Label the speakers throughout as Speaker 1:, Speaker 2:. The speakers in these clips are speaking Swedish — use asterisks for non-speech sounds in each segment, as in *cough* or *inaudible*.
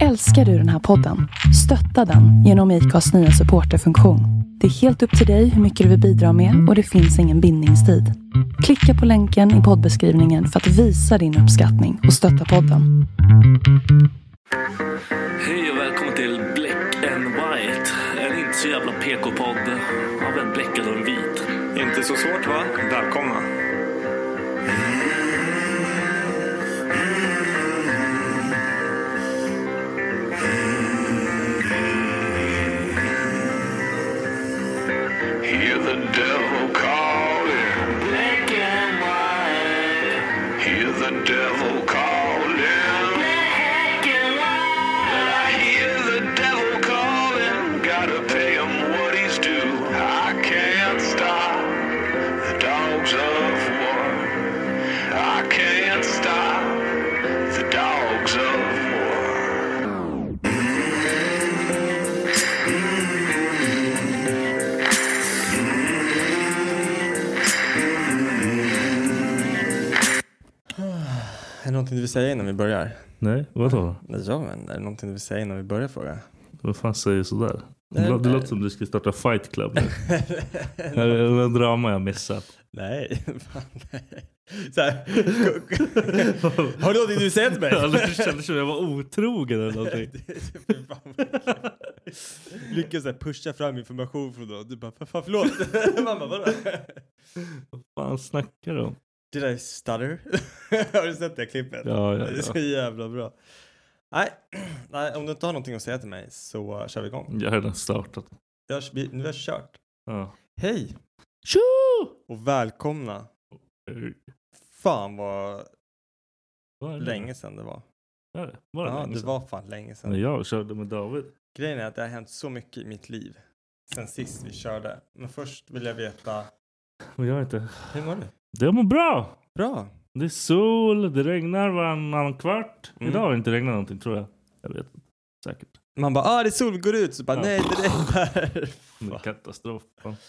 Speaker 1: Älskar du den här podden? Stötta den genom IKAs nya supporterfunktion. Det är helt upp till dig hur mycket du vill bidra med och det finns ingen bindningstid. Klicka på länken i poddbeskrivningen för att visa din uppskattning och stötta podden.
Speaker 2: Hej och välkommen till Black and White. En inte så jävla PK-podd av en bläckad och en vit.
Speaker 3: Inte så svårt va? Välkomna.
Speaker 4: Hear the devil calling. Black and white. Hear the devil calling. Black and white. I hear the devil calling. Gotta pay him what he's due. I can't stop the dogs of war. I can't stop the dogs of war.
Speaker 3: Är det någonting du vill säga innan vi börjar?
Speaker 5: Nej, vadå?
Speaker 3: Nej, Ja, men är det någonting du vill säga innan vi börjar fråga?
Speaker 5: Vad fan säger du sådär?
Speaker 3: Nej,
Speaker 5: Det lå- det
Speaker 3: nej.
Speaker 5: låter som du ska starta fight club nu.
Speaker 3: *laughs*
Speaker 5: Det här är en drama jag missat.
Speaker 3: nej, fan nej. Så här. *laughs* Har du någonting du
Speaker 5: *laughs*
Speaker 3: vill säga till *laughs* mig?
Speaker 5: Jag aldrig kände som jag var otrogen eller någonting.
Speaker 3: Fy fan, vad äckligt. Lyckas så här pusha fram information från någon. Du bara, "Fan, fan förlåt. *laughs* Man bara, vadå?
Speaker 5: Vad fan snackar du om?
Speaker 3: Did I stutter? *laughs* har du sett det klippet?
Speaker 5: Ja, ja,
Speaker 3: Det är så
Speaker 5: ja.
Speaker 3: jävla bra. Nej, *clears throat* nej, om du inte har någonting att säga till mig så uh, kör vi igång.
Speaker 5: Jag har redan startat.
Speaker 3: Jag, har- vi, nu har jag kört.
Speaker 5: Ja.
Speaker 3: Hej
Speaker 5: Tjo!
Speaker 3: och välkomna. Fan vad
Speaker 5: Vad är det?
Speaker 3: länge sedan det var.
Speaker 5: Vad är det? Var det
Speaker 3: Ja,
Speaker 5: länge
Speaker 3: det
Speaker 5: sedan?
Speaker 3: var
Speaker 5: Mm.
Speaker 3: fan länge
Speaker 5: När
Speaker 3: sedan.
Speaker 5: jag körde med David.
Speaker 3: Grejen är att det har hänt så mycket i mitt liv sen sist vi körde. Men först vill jag veta,
Speaker 5: Men jag inte.
Speaker 3: hur mår du?
Speaker 5: Det mår bra!
Speaker 3: Bra.
Speaker 5: Det är sol, det regnar varannan kvart.
Speaker 3: Mm.
Speaker 5: Idag har det inte regnat någonting tror jag. Jag vet inte. Säkert.
Speaker 3: Man bara, ah det är sol, vi går ut. Så bara,
Speaker 5: Ja.
Speaker 3: nej det regnar.
Speaker 5: Men
Speaker 3: Fan.
Speaker 5: Katastrof. fan.
Speaker 3: *laughs*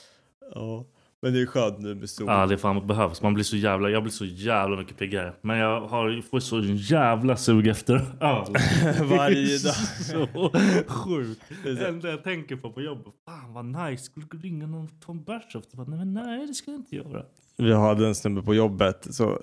Speaker 3: Ja, men det är skönt nu med sol.
Speaker 5: Ja, ah, det är fan vad behövs. Man blir så jävla, jag blir så jävla mycket piggare. Men jag har, får så jävla sug efter öl.
Speaker 3: *laughs* *laughs* Varje dag.
Speaker 5: så sjukt.
Speaker 3: Det är så
Speaker 5: Det
Speaker 3: här,
Speaker 5: *laughs* enda jag tänker på på jobbet. Fan vad nice. Skulle du ringa någon Tom Bärs efter? Jag bara, Nej, men nej, det ska jag inte göra.
Speaker 3: Vi hade en snubbe på jobbet så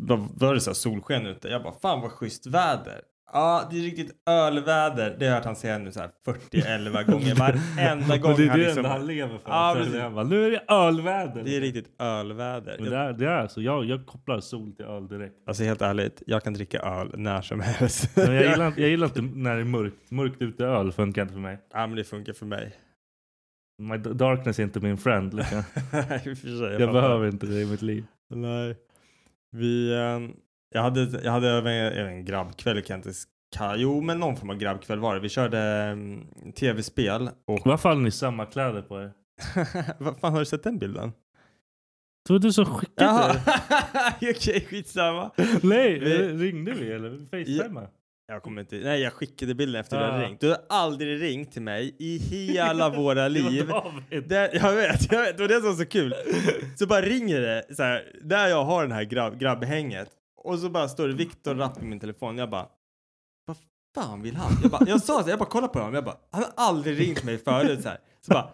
Speaker 3: då var det så här solsken ute. Jag bara fan vad schysst väder. Ja det är riktigt ölväder. Det har jag hört han säga nu så här 40-11
Speaker 5: *laughs*
Speaker 3: gånger. Varenda gång
Speaker 5: Men det är
Speaker 3: han
Speaker 5: det
Speaker 3: liksom.
Speaker 5: enda han lever för.
Speaker 3: Ja,
Speaker 5: Så
Speaker 3: precis.
Speaker 5: jag bara, nu är det ölväder.
Speaker 3: Det är riktigt ölväder.
Speaker 5: men det, är, det är så. Jag, jag kopplar sol till
Speaker 3: *laughs*
Speaker 5: öl direkt.
Speaker 3: Alltså helt ärligt, jag kan dricka öl när som helst.
Speaker 5: Men jag, gillar, inte- jag gillar inte när det är mörkt. Mörkt ute öl funkar inte för mig.
Speaker 3: *laughs* ja men det funkar för mig.
Speaker 5: My darkness är inte min friend. Liksom.
Speaker 3: *laughs* I och för sig, jag
Speaker 5: Jag
Speaker 3: fattar.
Speaker 5: behöver inte det i mitt liv.
Speaker 3: Nej. Vi, eh, jag hade, jag hade över en, en grabbkväll, kan jag inte s- ka- jo men någon form av grabbkväll var det. Vi körde mm, tv-spel och... *laughs*
Speaker 5: Varför hade ni samma kläder på er?
Speaker 3: Vad fan har du sett den bilden? Typ
Speaker 5: Det var du som skickade
Speaker 3: Jaha,
Speaker 5: det. *laughs*
Speaker 3: okej skitsamma.
Speaker 5: Nej, eh,
Speaker 3: Vi-
Speaker 5: ringde vi eller facetimade?
Speaker 3: Jag kommer inte, nej jag skickade bilden efter du
Speaker 5: Ah.
Speaker 3: hade ringt. Du har aldrig ringt till mig i hela våra liv.
Speaker 5: *laughs* Det var David.
Speaker 3: Det, jag vet, jag vet. Det var det som var så kul. Så bara ringer det så här, där jag har den här grabb, grabbhänget och så bara står det Viktor Rapp i min telefon. Jag bara, vad fan vill han? Jag, bara, jag sa så här, jag bara kollar på honom. Jag bara, han har aldrig ringt mig förut så här. Så bara,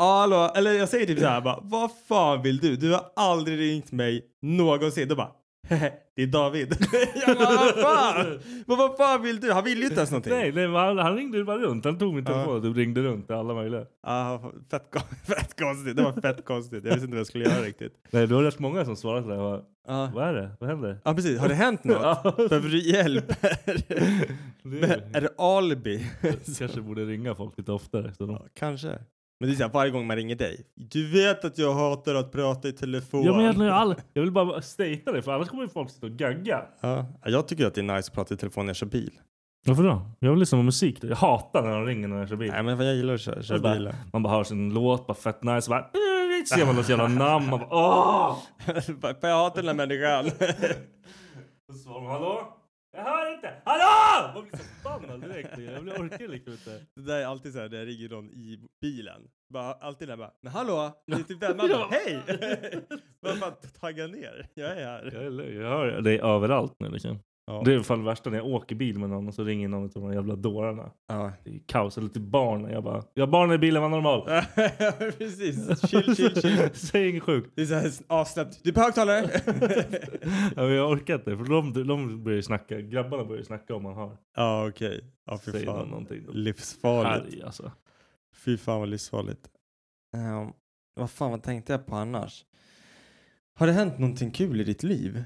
Speaker 3: hallå, eller jag säger typ så här, bara, vad fan vill du? Du har aldrig ringt mig någonsin. Då bara, "Hehe, det är David. *laughs* Jag bara, vad fan? Men vad fan vill du? Han vill ju inte ens någonting.
Speaker 5: Nej, nej men han, han ringde ju bara runt. Han tog min
Speaker 3: Ja.
Speaker 5: telefon och du ringde runt till alla möjliga.
Speaker 3: Ah, fett, kon- *laughs* fett konstigt. Det var fett konstigt. Jag visste inte vad jag skulle göra riktigt.
Speaker 5: Nej, det var rätt många som svarade sådär. Bara,
Speaker 3: Ja.
Speaker 5: Vad är det? Vad händer?
Speaker 3: Ja precis, har det
Speaker 5: *laughs*
Speaker 3: hänt något?
Speaker 5: Ja.
Speaker 3: Behöver du
Speaker 5: *laughs*
Speaker 3: hjälp?
Speaker 5: Det
Speaker 3: är
Speaker 5: är,
Speaker 3: det alibi?
Speaker 5: *laughs* kanske borde ringa folk lite oftare. Så de...
Speaker 3: Ja, kanske. Men det är så här, varje gång man ringer dig. Du vet att jag hatar att prata i telefon.
Speaker 5: ja, men jag, jag, all... jag vill bara statea det för annars kommer ju folk sitta och gagga.
Speaker 3: Ja, jag tycker att det är nice att prata i telefon när jag kör bil.
Speaker 5: Mm. Varför då? Jag vill lyssna på musik. Jag hatar när de ringer när jag kör bil.
Speaker 3: Nej men vad jag gillar att köra, köra
Speaker 5: Jag bara- *laughs*
Speaker 3: bil.
Speaker 5: Man bara hör sin låt, bara fett nice. Bara, "Äh, ser man någons jävla namn. Man bara, åh!
Speaker 3: Bara, För jag hatar den här människan. *laughs*
Speaker 5: Så svarar man hallå? Jag hör inte! Hallå! Man blir så förbannad direkt. Jag blir orkar liksom inte.
Speaker 3: det där är alltid så här när jag ringer någon i bilen. Bara, alltid den där bara, men hallå? Det är typ
Speaker 5: *laughs*
Speaker 3: den man bara,
Speaker 5: Ja.
Speaker 3: hej! *laughs* Vad fan, tagga ner. Jag är här.
Speaker 5: Jag, är lö- jag hör dig överallt nu liksom.
Speaker 3: Ja.
Speaker 5: Det är i alla fall värsta när jag åker bil med någon och så ringer någon av de här jävla dårarna.
Speaker 3: *laughs* Ja.
Speaker 5: Det är kaos. Eller till barn. Jag bara, jag har barn i bilen, var normal.
Speaker 3: Precis. Chill, chill, chill.
Speaker 5: *laughs* Säg inget sjukt.
Speaker 3: Det är så här avslappnat. Du är på
Speaker 5: *laughs*
Speaker 3: högtalare!
Speaker 5: Ja, men jag orkar inte. För de, de börjar ju snacka. Grabbarna börjar ju snacka om man har.
Speaker 3: ja, okej. Ja, fy
Speaker 5: Säger någon
Speaker 3: fan.
Speaker 5: någonting. Då.
Speaker 3: Livsfarligt.
Speaker 5: Arg alltså.
Speaker 3: Fy fan vad livsfarligt. Ehm, vad fan vad tänkte jag på annars? Har det hänt någonting kul i ditt liv?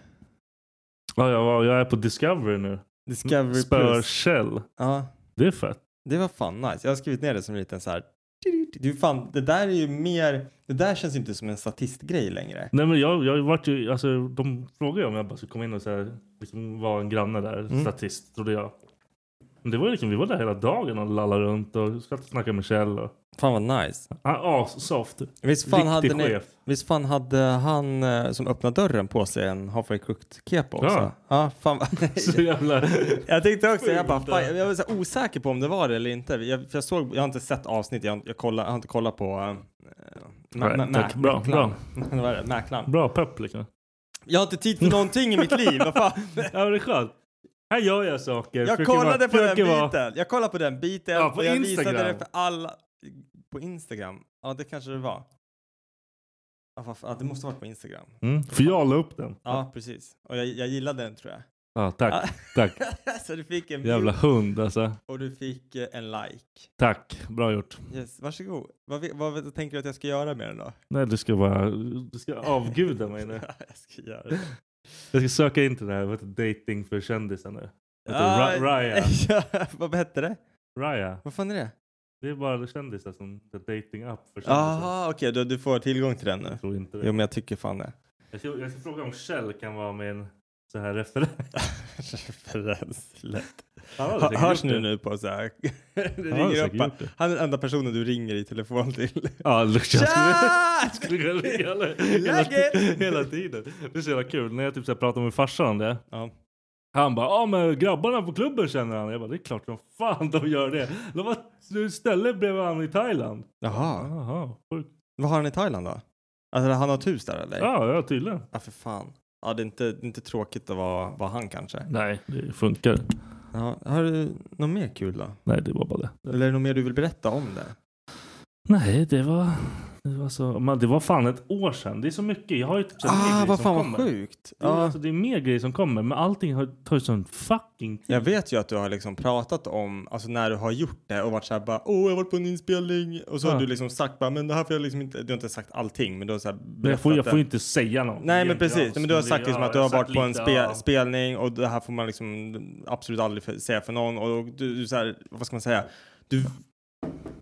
Speaker 5: Ja, jag, var, jag är på Discovery nu.
Speaker 3: Discovery
Speaker 5: Spöar
Speaker 3: Plus.
Speaker 5: Kjell.
Speaker 3: Ja,
Speaker 5: Det är fett.
Speaker 3: det var fan nice. Jag har skrivit ner det som en liten så här. Du fan, det där är ju mer, det där känns ju inte som en statistgrej längre.
Speaker 5: Nej, men jag, jag vart ju, alltså, de frågade ju om jag bara skulle komma in och så här, liksom, vara en granne där.
Speaker 3: Mm.
Speaker 5: Statist, trodde jag. Men det var ju liksom, vi var där hela dagen och lallade runt och skrattade och snackade med Kjell. Och,
Speaker 3: Fan vad nice.
Speaker 5: han är assoft.
Speaker 3: Visst fan,
Speaker 5: Riktig
Speaker 3: hade ni,
Speaker 5: chef.
Speaker 3: visst fan hade han eh, som öppnade dörren på sig en Halfway Cooked-kepa också?
Speaker 5: Ja.
Speaker 3: ja fan vad-
Speaker 5: *laughs*
Speaker 3: *laughs*
Speaker 5: Så jävla...
Speaker 3: Jag tänkte också, jag, bara, fan, jag var så här osäker på om det var det eller inte. Jag, för jag, såg, jag har inte sett avsnitt, jag, jag, kollar, jag har inte kollat på äh,
Speaker 5: Nej, tack. Bra, bra.
Speaker 3: *laughs* Mäklaren.
Speaker 5: Bra pepp liksom.
Speaker 3: Jag har inte tid för någonting i mitt liv. Vad
Speaker 5: *laughs*
Speaker 3: fan?
Speaker 5: Ja, men det är skönt. Här gör jag saker.
Speaker 3: Jag
Speaker 5: Försöker
Speaker 3: kollade
Speaker 5: vara-
Speaker 3: på den
Speaker 5: försöker vara-
Speaker 3: biten. Jag kollade på den biten
Speaker 5: Ja, på
Speaker 3: och jag visade
Speaker 5: Instagram.
Speaker 3: det för alla. På Instagram? Ja, det kanske det var. Ja, vad fan, ja, det måste ha varit på Instagram.
Speaker 5: Mm, för jag la upp den.
Speaker 3: Ja, precis. Och jag, jag gillade den tror jag. *laughs*
Speaker 5: Ja, tack.
Speaker 3: Ja.
Speaker 5: Tack.
Speaker 3: så du fick en
Speaker 5: Jävla
Speaker 3: view
Speaker 5: hund alltså.
Speaker 3: och du fick eh, en like.
Speaker 5: Tack. Bra gjort.
Speaker 3: Yes, varsågod. Vad, vi- vad tänker du att jag ska göra med den då?
Speaker 5: Nej, du ska bara... Du ska avguda mig nu.
Speaker 3: *laughs* Ja, jag ska göra det.
Speaker 5: Jag ska söka in till det här. Vad heter dating för kändisar nu? Heter
Speaker 3: Ah,
Speaker 5: Ra- Raya.
Speaker 3: *laughs* ja, vad hette det?
Speaker 5: Raya.
Speaker 3: Vad fan är det?
Speaker 5: Det är bara kändisar som the dating app för kändisar.
Speaker 3: Jaha, okej, du, du får tillgång till den nu.
Speaker 5: Jag tror inte
Speaker 3: Jo,
Speaker 5: det.
Speaker 3: men jag tycker fan det.
Speaker 5: Jag ska, jag ska fråga om Kjell kan vara med i en så här referens.
Speaker 3: *laughs* Referens, lätt.
Speaker 5: Han hade
Speaker 3: Hör-
Speaker 5: säkert
Speaker 3: Hörs ni
Speaker 5: gjort det.
Speaker 3: nu på så här? Det
Speaker 5: Han hade
Speaker 3: ringer
Speaker 5: säkert
Speaker 3: upp. bara.
Speaker 5: gjort det.
Speaker 3: Han är den enda personen du ringer i telefon *laughs* till.
Speaker 5: Ja, Lucian skulle...
Speaker 3: *laughs* Tja!
Speaker 5: skulle kunna ringa alla-
Speaker 3: Läget?
Speaker 5: hela, hela tiden. Det är så jävla kul. När jag typ så här pratar med farsan om det.
Speaker 3: Ja.
Speaker 5: Han bara, ja men grabbarna på klubben känner han. Jag bara, det är klart som fan de gör det. De var nu ställe bredvid han i Thailand.
Speaker 3: Jaha,
Speaker 5: Jaha, sjukt.
Speaker 3: vad har han i Thailand då? Alltså, han har ett hus där eller?
Speaker 5: Ja, ja tydligen.
Speaker 3: Ja, för fan. Ja, det är inte, det är inte tråkigt att vara, vara han kanske.
Speaker 5: Nej, det funkar.
Speaker 3: Ja, har du något mer kul då?
Speaker 5: Nej, det var bara det.
Speaker 3: Eller är det något mer du vill berätta om det?
Speaker 5: Nej, det var... Det var, så, men det var fan ett år sedan. Det är så mycket. Jag har ju typ så här mer
Speaker 3: Ah,
Speaker 5: grejer
Speaker 3: vad
Speaker 5: som
Speaker 3: fan vad
Speaker 5: kommer.
Speaker 3: sjukt.
Speaker 5: Det är,
Speaker 3: Ja.
Speaker 5: alltså, det är mer grejer som kommer, men allting har tagit sån fucking tid.
Speaker 3: Jag vet ju att du har liksom pratat om, alltså när du har gjort det och varit såhär bara åh jag har varit på en inspelning och så har
Speaker 5: Ja.
Speaker 3: du liksom sagt bara men det här får jag liksom inte, du har inte sagt allting men du har såhär
Speaker 5: Men jag får, jag
Speaker 3: berättat
Speaker 5: får ju
Speaker 3: det.
Speaker 5: inte säga något. Det är
Speaker 3: Nej men
Speaker 5: inte jag
Speaker 3: precis,
Speaker 5: som-
Speaker 3: men du har
Speaker 5: det är
Speaker 3: sagt liksom
Speaker 5: jag.
Speaker 3: att du
Speaker 5: Jag
Speaker 3: har varit
Speaker 5: sagt
Speaker 3: på en
Speaker 5: lite,
Speaker 3: spe,
Speaker 5: ja.
Speaker 3: spelning och det här får man liksom absolut aldrig för, säga för någon och du, du såhär, vad ska man säga, du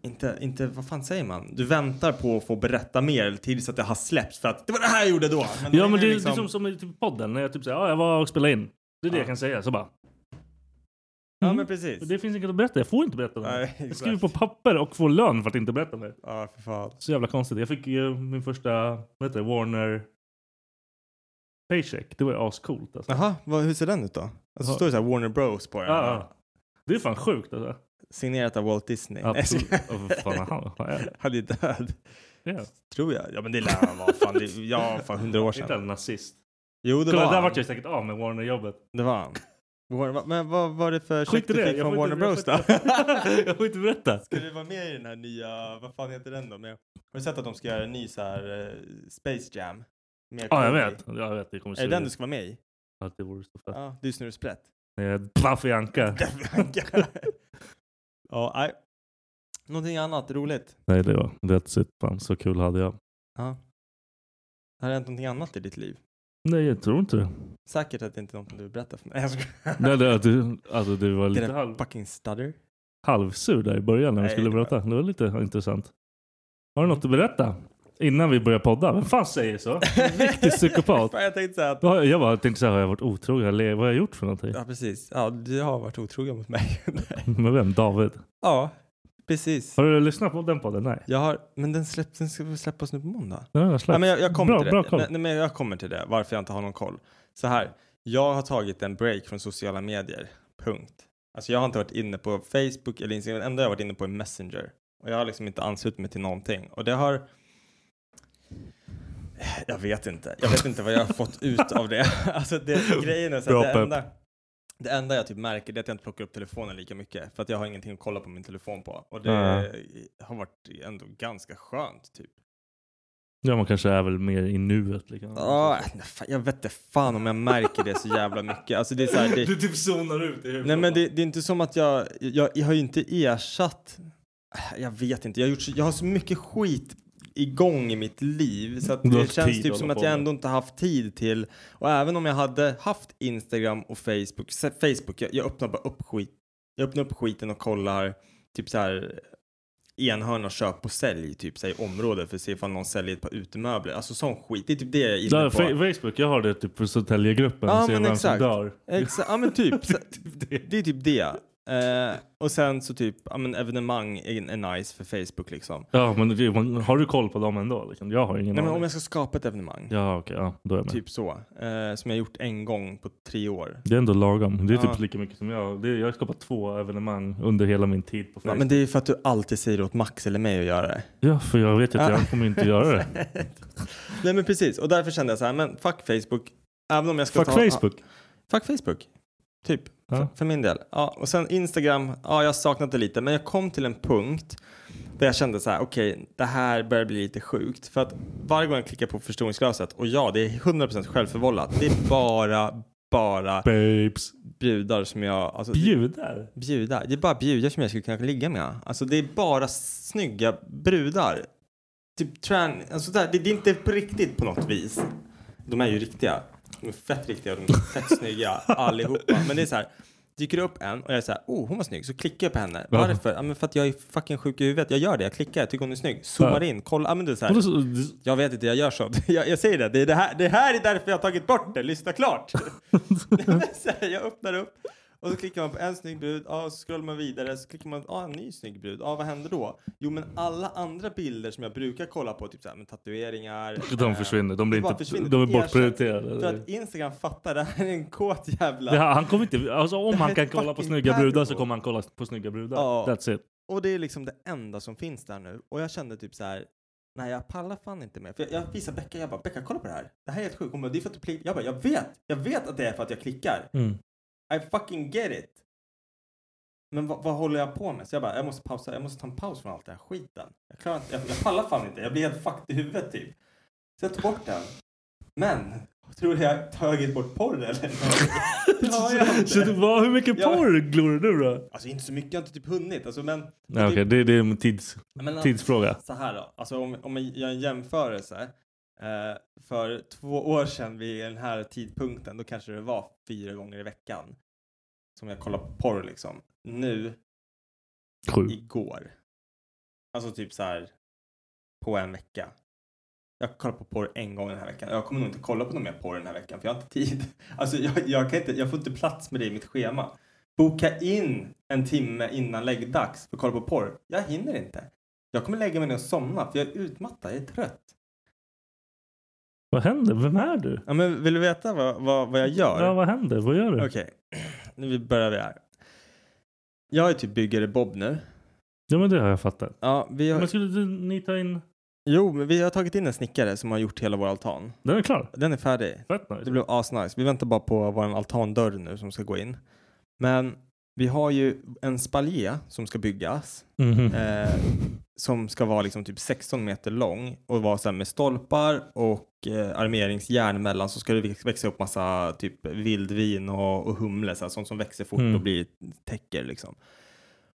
Speaker 3: inte, inte, vad fan säger man? Du väntar på att få berätta mer tills att det har släppts för att det var det här jag gjorde då. då
Speaker 5: Ja
Speaker 3: ringer
Speaker 5: men det är liksom, som i typ podden när jag typ säger ja jag var och spelade in. Det är det
Speaker 3: Ja.
Speaker 5: jag kan säga. Så bara.
Speaker 3: Ja
Speaker 5: Mm.
Speaker 3: men precis.
Speaker 5: Det finns inget att berätta. Jag får inte berätta om
Speaker 3: Nej,
Speaker 5: det.
Speaker 3: exakt.
Speaker 5: Jag skriver på papper och får lön för att inte berätta om det.
Speaker 3: Ja för fan.
Speaker 5: Så jävla konstigt. Jag fick ju min första, vad heter det, Warner Paycheck. Det var ju ascoolt alltså.
Speaker 3: Jaha, vad, hur ser den ut då? Alltså
Speaker 5: Ja.
Speaker 3: står det såhär Warner Bros på den?
Speaker 5: Ja, ja. Det är fan sjukt alltså.
Speaker 3: Signerat av Walt Disney. Nej, jag *laughs*
Speaker 5: Absolut.
Speaker 3: skojar.
Speaker 5: Ja, vad fan, är han, han är,
Speaker 3: Han är död,
Speaker 5: det?
Speaker 3: tror jag. Ja men det lär han vara. Fan, det, ja, fan hundra år
Speaker 5: Inte
Speaker 3: sedan.
Speaker 5: en nazist.
Speaker 3: Jo det
Speaker 5: Kolla,
Speaker 3: var
Speaker 5: där
Speaker 3: han.
Speaker 5: vart jag säkert av med Warner-jobbet.
Speaker 3: Det var han. Warner, va- men vad var det för
Speaker 5: Skit
Speaker 3: check
Speaker 5: i
Speaker 3: du
Speaker 5: det.
Speaker 3: fick
Speaker 5: Jag
Speaker 3: från
Speaker 5: får
Speaker 3: Warner Bros
Speaker 5: inte-
Speaker 3: då? *laughs*
Speaker 5: jag *laughs* jag får inte berätta.
Speaker 3: Ska du vara med i den här nya, vad fan heter den då? Med, har du sett att de ska göra en ny så här eh, Space Jam? Med
Speaker 5: Ja,
Speaker 3: Clooney?
Speaker 5: jag vet. Ja, jag vet. Det kommer
Speaker 3: Är det den du ska vara med i?
Speaker 5: Att det vore så fett.
Speaker 3: Ja, du är *laughs* snurrsprätt.
Speaker 5: Ja. Plaffi Anka.
Speaker 3: ja, nej. Någonting annat roligt?
Speaker 5: Nej, det var that's it. Fan, så kul hade jag.
Speaker 3: Ja. Har det hänt någonting annat i ditt liv?
Speaker 5: Nej, jag tror inte det.
Speaker 3: Säkert att det inte är något du vill berätta för mig. Jag skojar.
Speaker 5: Nej, det, du, alltså, du var lite
Speaker 3: Get a
Speaker 5: halv,
Speaker 3: fucking stutter.
Speaker 5: *laughs* halvsur där i början när du
Speaker 3: Nej,
Speaker 5: skulle
Speaker 3: det var- Mm.
Speaker 5: berätta. Det var lite intressant. Har du något att berätta? Innan vi börjar podda? Vem fan
Speaker 3: *laughs*
Speaker 5: säger så? Riktig psykopat.
Speaker 3: Fan, jag tänkte säga att...
Speaker 5: Då har jag- Jag bara tänkte så här, har jag varit otrogen? Eller Vad har jag gjort för någonting?
Speaker 3: Ja, precis. Ja, du har varit otrogen mot mig. *laughs*
Speaker 5: *laughs* Med vem? David?
Speaker 3: ja, precis.
Speaker 5: Har du lyssnat på den podden? Nej.
Speaker 3: Jag har... Men den, släpp, den ska vi släppas nu på måndag.
Speaker 5: Den har jag
Speaker 3: Ja,
Speaker 5: släppt.
Speaker 3: men jag, jag kommer
Speaker 5: bra,
Speaker 3: till
Speaker 5: bra
Speaker 3: det.
Speaker 5: koll.
Speaker 3: Nej, nej, men jag kommer till det. Varför jag inte har någon koll. Så här. Jag har tagit en break från sociala medier. Punkt. Alltså jag har inte varit inne på Facebook eller Instagram. Det enda jag har varit inne på är Messenger. Och jag har liksom inte anslutit mig till någonting. Och det har...
Speaker 5: *laughs*
Speaker 3: Jag vet inte. Jag vet inte vad jag har fått ut av det. *laughs* Alltså det, grejen är så
Speaker 5: Bra
Speaker 3: att det
Speaker 5: pepp.
Speaker 3: enda... Det enda jag typ märker det är att jag inte plockar upp telefonen lika mycket. För att jag har ingenting att kolla på min telefon på. Och det har varit ändå ganska skönt typ.
Speaker 5: Ja, man kanske är väl mer i nuet. Liksom.
Speaker 3: Ja, nej, fan, jag vet inte fan om jag märker det så jävla mycket. Alltså det är så här, det,
Speaker 5: Du typ zonar ut i huvudet.
Speaker 3: nej men det, det är inte som att jag, jag, jag har ju inte ersatt, jag vet inte, jag har, gjort, så- jag har så mycket skit igång i mitt liv så att
Speaker 5: Du har
Speaker 3: det
Speaker 5: haft
Speaker 3: känns
Speaker 5: tid
Speaker 3: typ
Speaker 5: att
Speaker 3: som
Speaker 5: hålla
Speaker 3: att
Speaker 5: på
Speaker 3: jag
Speaker 5: med.
Speaker 3: ändå inte haft tid till och även om jag hade haft Instagram och Facebook, se- Facebook, jag, jag öppnar bara upp skit, jag öppnar upp skiten och kollar typ så här enhörna köp och sälj typ så här, i området för att se ifall någon säljer ett par utemöbler, alltså sån skit, det är typ det jag är inne
Speaker 5: Där,
Speaker 3: på.
Speaker 5: fa- Facebook, jag har det typ för Södertäljegruppen.
Speaker 3: Ja,
Speaker 5: se
Speaker 3: men
Speaker 5: vem
Speaker 3: exakt.
Speaker 5: som dör.
Speaker 3: Exa- ja men typ. Så-
Speaker 5: det.
Speaker 3: *laughs* det är typ det. Eh, och sen så typ, ja men evenemang är, är nice för Facebook liksom.
Speaker 5: Ja, men det- man- har du koll på dem ändå? Liksom? Jag har ingen
Speaker 3: Nej men
Speaker 5: aning.
Speaker 3: om jag ska skapa ett evenemang,
Speaker 5: Ja, okej. ja, då är jag med.
Speaker 3: typ så, eh, som jag gjort en gång på tre år.
Speaker 5: Det är ändå lagom. Det är
Speaker 3: Ja.
Speaker 5: typ lika mycket som jag. Det, jag har skapat två evenemang under hela min tid på
Speaker 3: Ja,
Speaker 5: Facebook.
Speaker 3: men det är ju för att du alltid säger åt Max eller mig att göra det.
Speaker 5: Ja, för jag vet ju att jag kommer inte göra det.
Speaker 3: *laughs* Nej men precis, och därför kände jag så här, men fuck Facebook. Även om jag ska
Speaker 5: Fuck
Speaker 3: ta...
Speaker 5: Facebook.
Speaker 3: Ja, fuck Facebook. Typ,
Speaker 5: Ja.
Speaker 3: för, för min del. Ja, och sen Instagram, ja jag har saknat det lite, men jag kom till en punkt där jag kände så här, okej, det här börjar bli lite sjukt. För att varje gång jag klickar på förstoringsglaset, och ja, det är 100% självförvållat. Det är bara, bara
Speaker 5: Babes.
Speaker 3: brudar som jag, alltså
Speaker 5: Bjudar.
Speaker 3: bjuda. Det är bara bjudar som jag skulle kunna ligga med. Alltså det är bara snygga brudar. Typ tran, alltså där, det, det är inte på riktigt på något vis. De är ju riktiga. De är fett riktiga och de är *laughs* fett snygga allihopa. Men det är så här, dyker det upp en och jag är så här, oh hon var snygg, så klickar jag på henne. Varför? Ja, men för att jag är fucking sjuk i huvudet. Jag gör det, jag klickar, jag tycker hon är snygg. Zoomar in, kolla, ja men det är så
Speaker 5: Och
Speaker 3: här.
Speaker 5: då så- det-
Speaker 3: Jag vet inte, jag gör så. *laughs* Jag, jag säger det. Det, är det, här, det här är därför jag har tagit bort det. Lyssna
Speaker 5: *laughs*
Speaker 3: klart. Nej, men så här, jag öppnar upp och så klickar man på en snygg brud. Ja, så scrollar man vidare. Så klickar man på ah, en ny snygg brud. Ja, vad händer då? Jo, men alla andra bilder som jag brukar kolla på, typ så här, med tatueringar.
Speaker 5: De
Speaker 3: eh,
Speaker 5: försvinner. De blir
Speaker 3: det bara
Speaker 5: inte...
Speaker 3: försvinner.
Speaker 5: De är
Speaker 3: Ersätt.
Speaker 5: bortprioriterade.
Speaker 3: För att Instagram fattar, det här är en kåt jävla...
Speaker 5: Det här, han kommer inte... Alltså om
Speaker 3: här är
Speaker 5: han kan
Speaker 3: ett
Speaker 5: kolla på
Speaker 3: fucking
Speaker 5: snygga brudar så
Speaker 3: pervo.
Speaker 5: kommer han kolla på snygga brudar.
Speaker 3: Ja.
Speaker 5: That's it.
Speaker 3: Och det är liksom det enda som finns där nu. Och jag kände typ så här. Nej, jag pallar fan inte mer. För jag, jag visar Becka, jag bara, Becka kolla på det här. Det här är helt sjukt. Hon bara, det är för att du klickar. Jag bara, jag vet. Jag vet att det är för att jag klickar.
Speaker 5: Mm.
Speaker 3: I fucking get it. Men vad, vad håller jag på med? Så jag bara, jag måste pausa. Jag måste ta en paus från allt den här skiten. Jag klarar inte, jag, jag pallar fan inte. Jag blir helt fucked i huvudet typ. Så jag tog bort den. Men, tror du jag tagit bort porr eller? *laughs* Det har jag
Speaker 5: *laughs* Så det
Speaker 3: inte.
Speaker 5: var, hur mycket
Speaker 3: Ja.
Speaker 5: porr glor du då?
Speaker 3: Alltså inte så mycket, jag har inte typ hunnit. Alltså men.
Speaker 5: Nej, okej, det, det är en tids,
Speaker 3: men typ
Speaker 5: tidsfråga.
Speaker 3: Så här då, alltså om, om jag gör en jämförelse. Eh, för två år sedan vid den här tidpunkten, då kanske det var fyra gånger i veckan som jag kollade på porr liksom. Nu,
Speaker 5: Sju.
Speaker 3: igår, alltså typ så här på en vecka. Jag kollar på porr en gång den här veckan. Jag kommer nog inte kolla på någon mer porr den här veckan för jag har inte tid. *laughs* Alltså jag, jag, kan inte, jag får inte plats med det i mitt schema. Boka in en timme innan läggdags för att kolla på porr. Jag hinner inte. Jag kommer lägga mig ner och somna för jag är utmattad, jag är trött.
Speaker 5: Vad händer? Vem är du?
Speaker 3: Ja, men vill du veta vad, vad, vad jag gör?
Speaker 5: Ja, vad händer? Vad gör du?
Speaker 3: Okej, nu börjar vi här. Jag är typ byggare Bob nu.
Speaker 5: Ja, men det har jag fattat.
Speaker 3: Ja, vi har,
Speaker 5: Men skulle du, ni ta in...
Speaker 3: Jo, men vi har tagit in en snickare som har gjort hela vår altan.
Speaker 5: Den är klar.
Speaker 3: Den är färdig.
Speaker 5: Fett
Speaker 3: Det
Speaker 5: nice.
Speaker 3: blev asnice. Vi väntar bara på vår altandörr nu som ska gå in. Men vi har ju en spaljé som ska byggas.
Speaker 5: Mhm.
Speaker 3: Eh, som ska vara liksom typ 16 meter lång och vara så här med stolpar och eh, armeringsjärn mellan så ska det väx- växa upp massa typ vildvin och, och humle, så här, sånt som växer fort
Speaker 5: Mm.
Speaker 3: och blir täcker liksom.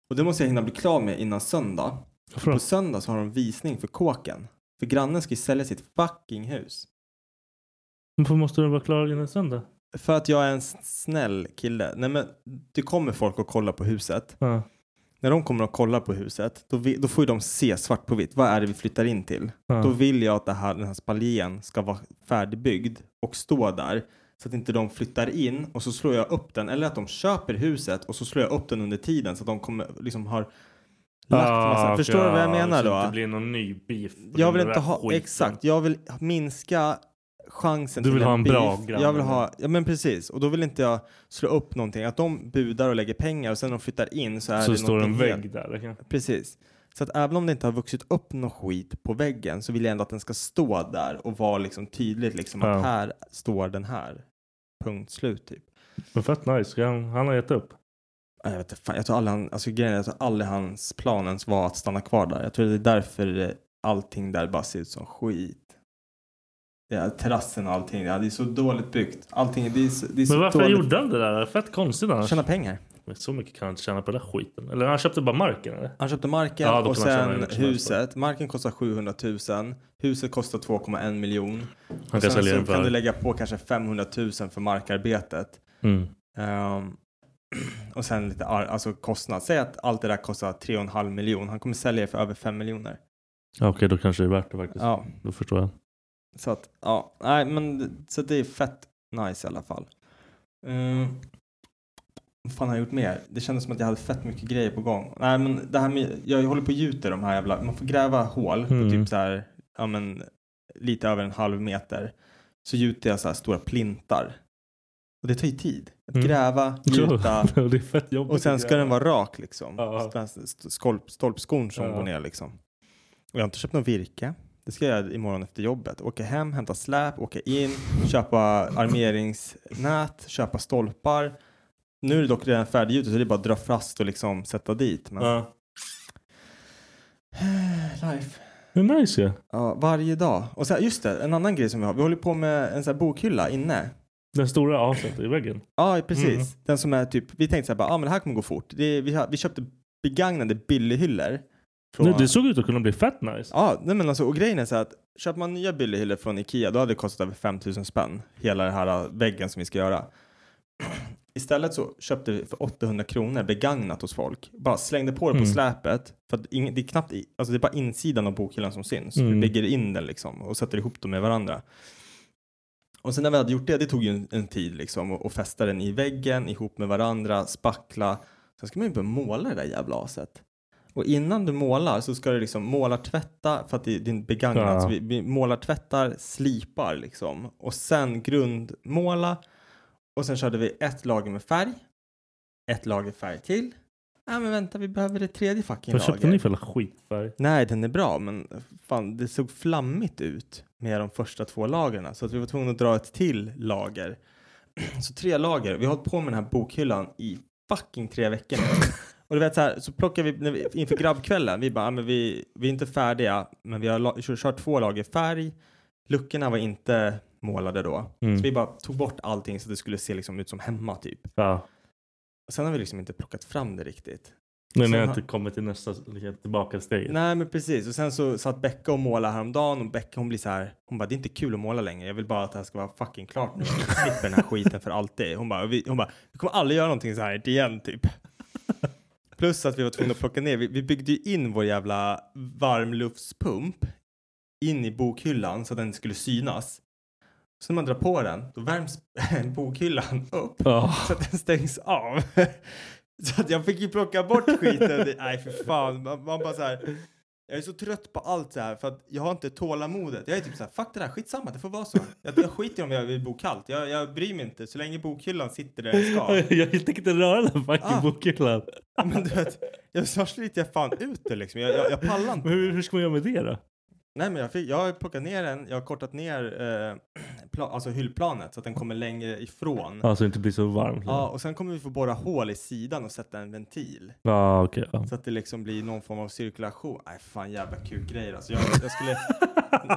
Speaker 3: Och det måste jag hinna bli klar med innan söndag.
Speaker 5: Varför då?
Speaker 3: På söndag så har de visning för kåken. För grannen ska ju sälja sitt fucking hus.
Speaker 5: Varför måste du vara klar innan söndag?
Speaker 3: För att jag är en s- snäll kille. Nej men det kommer folk att kolla på huset.
Speaker 5: Ja.
Speaker 3: När de kommer och kollar på huset då, vi, då får ju de se svart på vitt. Vad är det vi flyttar in till?
Speaker 5: Ja.
Speaker 3: Då vill jag att det här, den här spaljén ska vara färdigbyggd och stå där. Så att inte de flyttar in och så slår jag upp den. Eller att de köper huset och så slår jag upp den under tiden så att de kommer, liksom har lagt massa.
Speaker 5: Ah, okej,
Speaker 3: Förstår du vad jag menar
Speaker 5: så
Speaker 3: då?
Speaker 5: att Det blir någon ny beef. på
Speaker 3: Jag
Speaker 5: den
Speaker 3: vill
Speaker 5: där
Speaker 3: inte ha,
Speaker 5: skiten.
Speaker 3: exakt, jag vill minska chansen
Speaker 5: Du vill
Speaker 3: till
Speaker 5: ha en bra
Speaker 3: beef.
Speaker 5: granne.
Speaker 3: Jag vill ha, ja men precis. Och då vill inte jag slå upp någonting. Att de budar och lägger pengar och sen när de flyttar in så är
Speaker 5: Så
Speaker 3: det
Speaker 5: står en
Speaker 3: någonting
Speaker 5: vägg
Speaker 3: helt-
Speaker 5: där. det kan-
Speaker 3: Precis. Så att även om det inte har vuxit upp någon skit på väggen så vill jag ändå att den ska stå där och vara liksom tydligt liksom
Speaker 5: Ja.
Speaker 3: att här står den här. Punkt slut typ.
Speaker 5: Men fett nice. Ska Han, han har gett upp.
Speaker 3: Nej, Jag, vet, inte, fan, jag tror aldrig, han, alltså, grejen är, jag tror aldrig hans plan ens var att stanna kvar där. Jag tror det är därför eh, allting där bara ser ut som skit. Ja, terrassen och allting. Ja, det är så dåligt byggt. Allting, det är, så- det är
Speaker 5: Men
Speaker 3: så
Speaker 5: varför
Speaker 3: dåligt.
Speaker 5: gjorde han det där? Fett konstigt annars.
Speaker 3: Tjäna pengar.
Speaker 5: Men Så mycket kan han inte tjäna på den där skiten. Eller han köpte bara marken eller?
Speaker 3: Han köpte marken
Speaker 5: Ja, då
Speaker 3: och
Speaker 5: kan man tjäna hur
Speaker 3: sen
Speaker 5: mycket som helst på det.
Speaker 3: huset. Marken kostar 700 000. Huset kostar 2,1 miljon.
Speaker 5: Han kan
Speaker 3: Sen
Speaker 5: sälja
Speaker 3: så
Speaker 5: den
Speaker 3: kan du
Speaker 5: för...
Speaker 3: lägga på kanske 500 000 för markarbetet.
Speaker 5: Mm.
Speaker 3: Ehm, *clears throat* och sen lite ar- alltså kostnad. Säg att allt det där kostar 3,5 miljon. Han kommer sälja det för över 5 miljoner.
Speaker 5: Ja, Okej, då kanske det är värt det faktiskt.
Speaker 3: Ja,
Speaker 5: Då förstår jag. *laughs*
Speaker 3: så att ja, nej, men d- så det är fett nice i alla fall. Ehm, vad fan har jag gjort mer? Det kändes som att jag hade fett mycket grejer på gång. Nej, men det här med, jag håller på och gjuter de här jävla, man får gräva hål på
Speaker 5: Mm.
Speaker 3: typ så här, ja men lite över en halv meter. Så gjuter jag så här stora plintar. Och det tar ju tid. Att
Speaker 5: Mm.
Speaker 3: gräva,
Speaker 5: *laughs*
Speaker 3: gjuta,
Speaker 5: Ja, det är fett jobbigt.
Speaker 3: Och sen ska den vara rak liksom.
Speaker 5: Ja.
Speaker 3: Den här st- skolp- Stolpskon som
Speaker 5: Ja.
Speaker 3: går ner liksom. Och jag har inte köpt någon virke. Det ska jag göra imorgon efter jobbet. Åka hem, hämta släp, åka in, köpa armeringsnät, köpa stolpar. Nu är det dock redan färdiggjutet så det är bara att dra fast och liksom sätta dit. Men...
Speaker 5: Ja.
Speaker 3: *sighs* Life.
Speaker 5: Det är nice ju.
Speaker 3: Ja, varje dag. Och sen, just det, en annan grej som vi har. Vi håller på med en sån här bokhylla inne.
Speaker 5: Den stora aset i väggen.
Speaker 3: Ja, precis.
Speaker 5: Mm.
Speaker 3: Den som är typ, vi tänkte så här bara, ah, men det här kommer gå fort. Det, vi, har, vi köpte begagnade billighyllor. från-
Speaker 5: Nej, det såg ut att kunna bli fett nice.
Speaker 3: Ja, nej men alltså, och grejen är så här att köper man nya billighyllor från Ikea då hade det kostat över 5000 spänn. Hela den här äh, väggen som vi ska göra. *clears throat* Istället så köpte vi för 800 kronor begagnat hos folk. Bara slängde på det på
Speaker 5: Mm.
Speaker 3: släpet. För att ingen, det är knappt, i- alltså det är bara insidan av bokhyllan som syns.
Speaker 5: Mm.
Speaker 3: Du lägger in den liksom och sätter ihop dem med varandra. Och sen när vi hade gjort det, det tog ju en, en tid liksom. Och, och fästa den i väggen ihop med varandra, spackla. Sen ska man ju börja måla det där jävla aset. Och innan du målar så ska du liksom målartvätta för att det det är din begagnat.
Speaker 5: Ja.
Speaker 3: Så vi, vi målartvättar, slipar liksom och sen grundmåla. Och sen körde vi ett lager med färg. Ett lager färg till. Nej men vänta, vi behöver det tredje fucking
Speaker 5: Vad
Speaker 3: lager.
Speaker 5: köpte ni för jävla skitfärg?
Speaker 3: Nej, den är bra, men fan, det såg flammigt ut med de första två lagren. Så att vi var tvungna att dra ett till lager. *clears throat* Så tre lager. Vi har hållit på med den här bokhyllan i fucking tre veckor nu. Och du vet så här, så plockar vi, när vi inför grabbkvällen, vi bara, "Ah, men vi, vi är inte färdiga, men vi har la- kört, kört två lager färg. Luckorna var inte målade då.
Speaker 5: Mm.
Speaker 3: Så vi bara tog bort allting så att det skulle se liksom ut som hemma typ.
Speaker 5: Ja.
Speaker 3: Och sen har vi liksom inte plockat fram det riktigt.
Speaker 5: Nej, ni
Speaker 3: Sen
Speaker 5: har
Speaker 3: har-
Speaker 5: inte kommit typ till nästa liksom, tillbaka steget.
Speaker 3: Nej men precis och sen så satt Becka och målade häromdagen och Becka hon blir så här hon bara det är inte kul att måla längre jag vill bara att det här ska vara fucking klart nu jag slipper den här skiten för alltid hon bara vi, hon bara, vi kommer aldrig göra någonting så här igen typ plus att vi var tvungna att plocka ner vi, vi byggde ju in vår jävla varmluftspump in i bokhyllan så att den skulle synas så när man drar på den då värms *laughs* bokhyllan upp
Speaker 5: Ja.
Speaker 3: så att den stängs av. *laughs* Så att jag fick ju plocka bort skiten. Nej för fan. Man, man bara så här. Jag är så trött på allt så här för att jag har inte tålamodet. Jag är typ så här, fuck det där, skitsamma, det får vara så. Jag, jag skiter i om jag vill bo kallt. Jag, jag bryr mig inte så länge bokhyllan sitter där den
Speaker 5: *laughs*
Speaker 3: ska.
Speaker 5: *laughs* Jag tänker inte röra den fucking
Speaker 3: Ah.
Speaker 5: bokhyllan.
Speaker 3: Men du vet, jag, snart sliter jag fan ut det liksom. Jag, jag, jag pallar inte.
Speaker 5: Men hur, hur ska man göra med det då?
Speaker 3: Nej men jag, fick, jag har plockat ner den, jag har kortat ner eh, *clears throat* pla, alltså hyllplanet så att den kommer längre ifrån.
Speaker 5: Ja, så det Alltså, inte blir så varmt.
Speaker 3: Ja, och sen kommer vi få borra hål i sidan och sätta en ventil.
Speaker 5: Ja, okej. ja.
Speaker 3: Så att det liksom blir någon form av cirkulation. Nej, fan jävla kul grejer alltså. Jag, jag
Speaker 5: *laughs*
Speaker 3: skulle...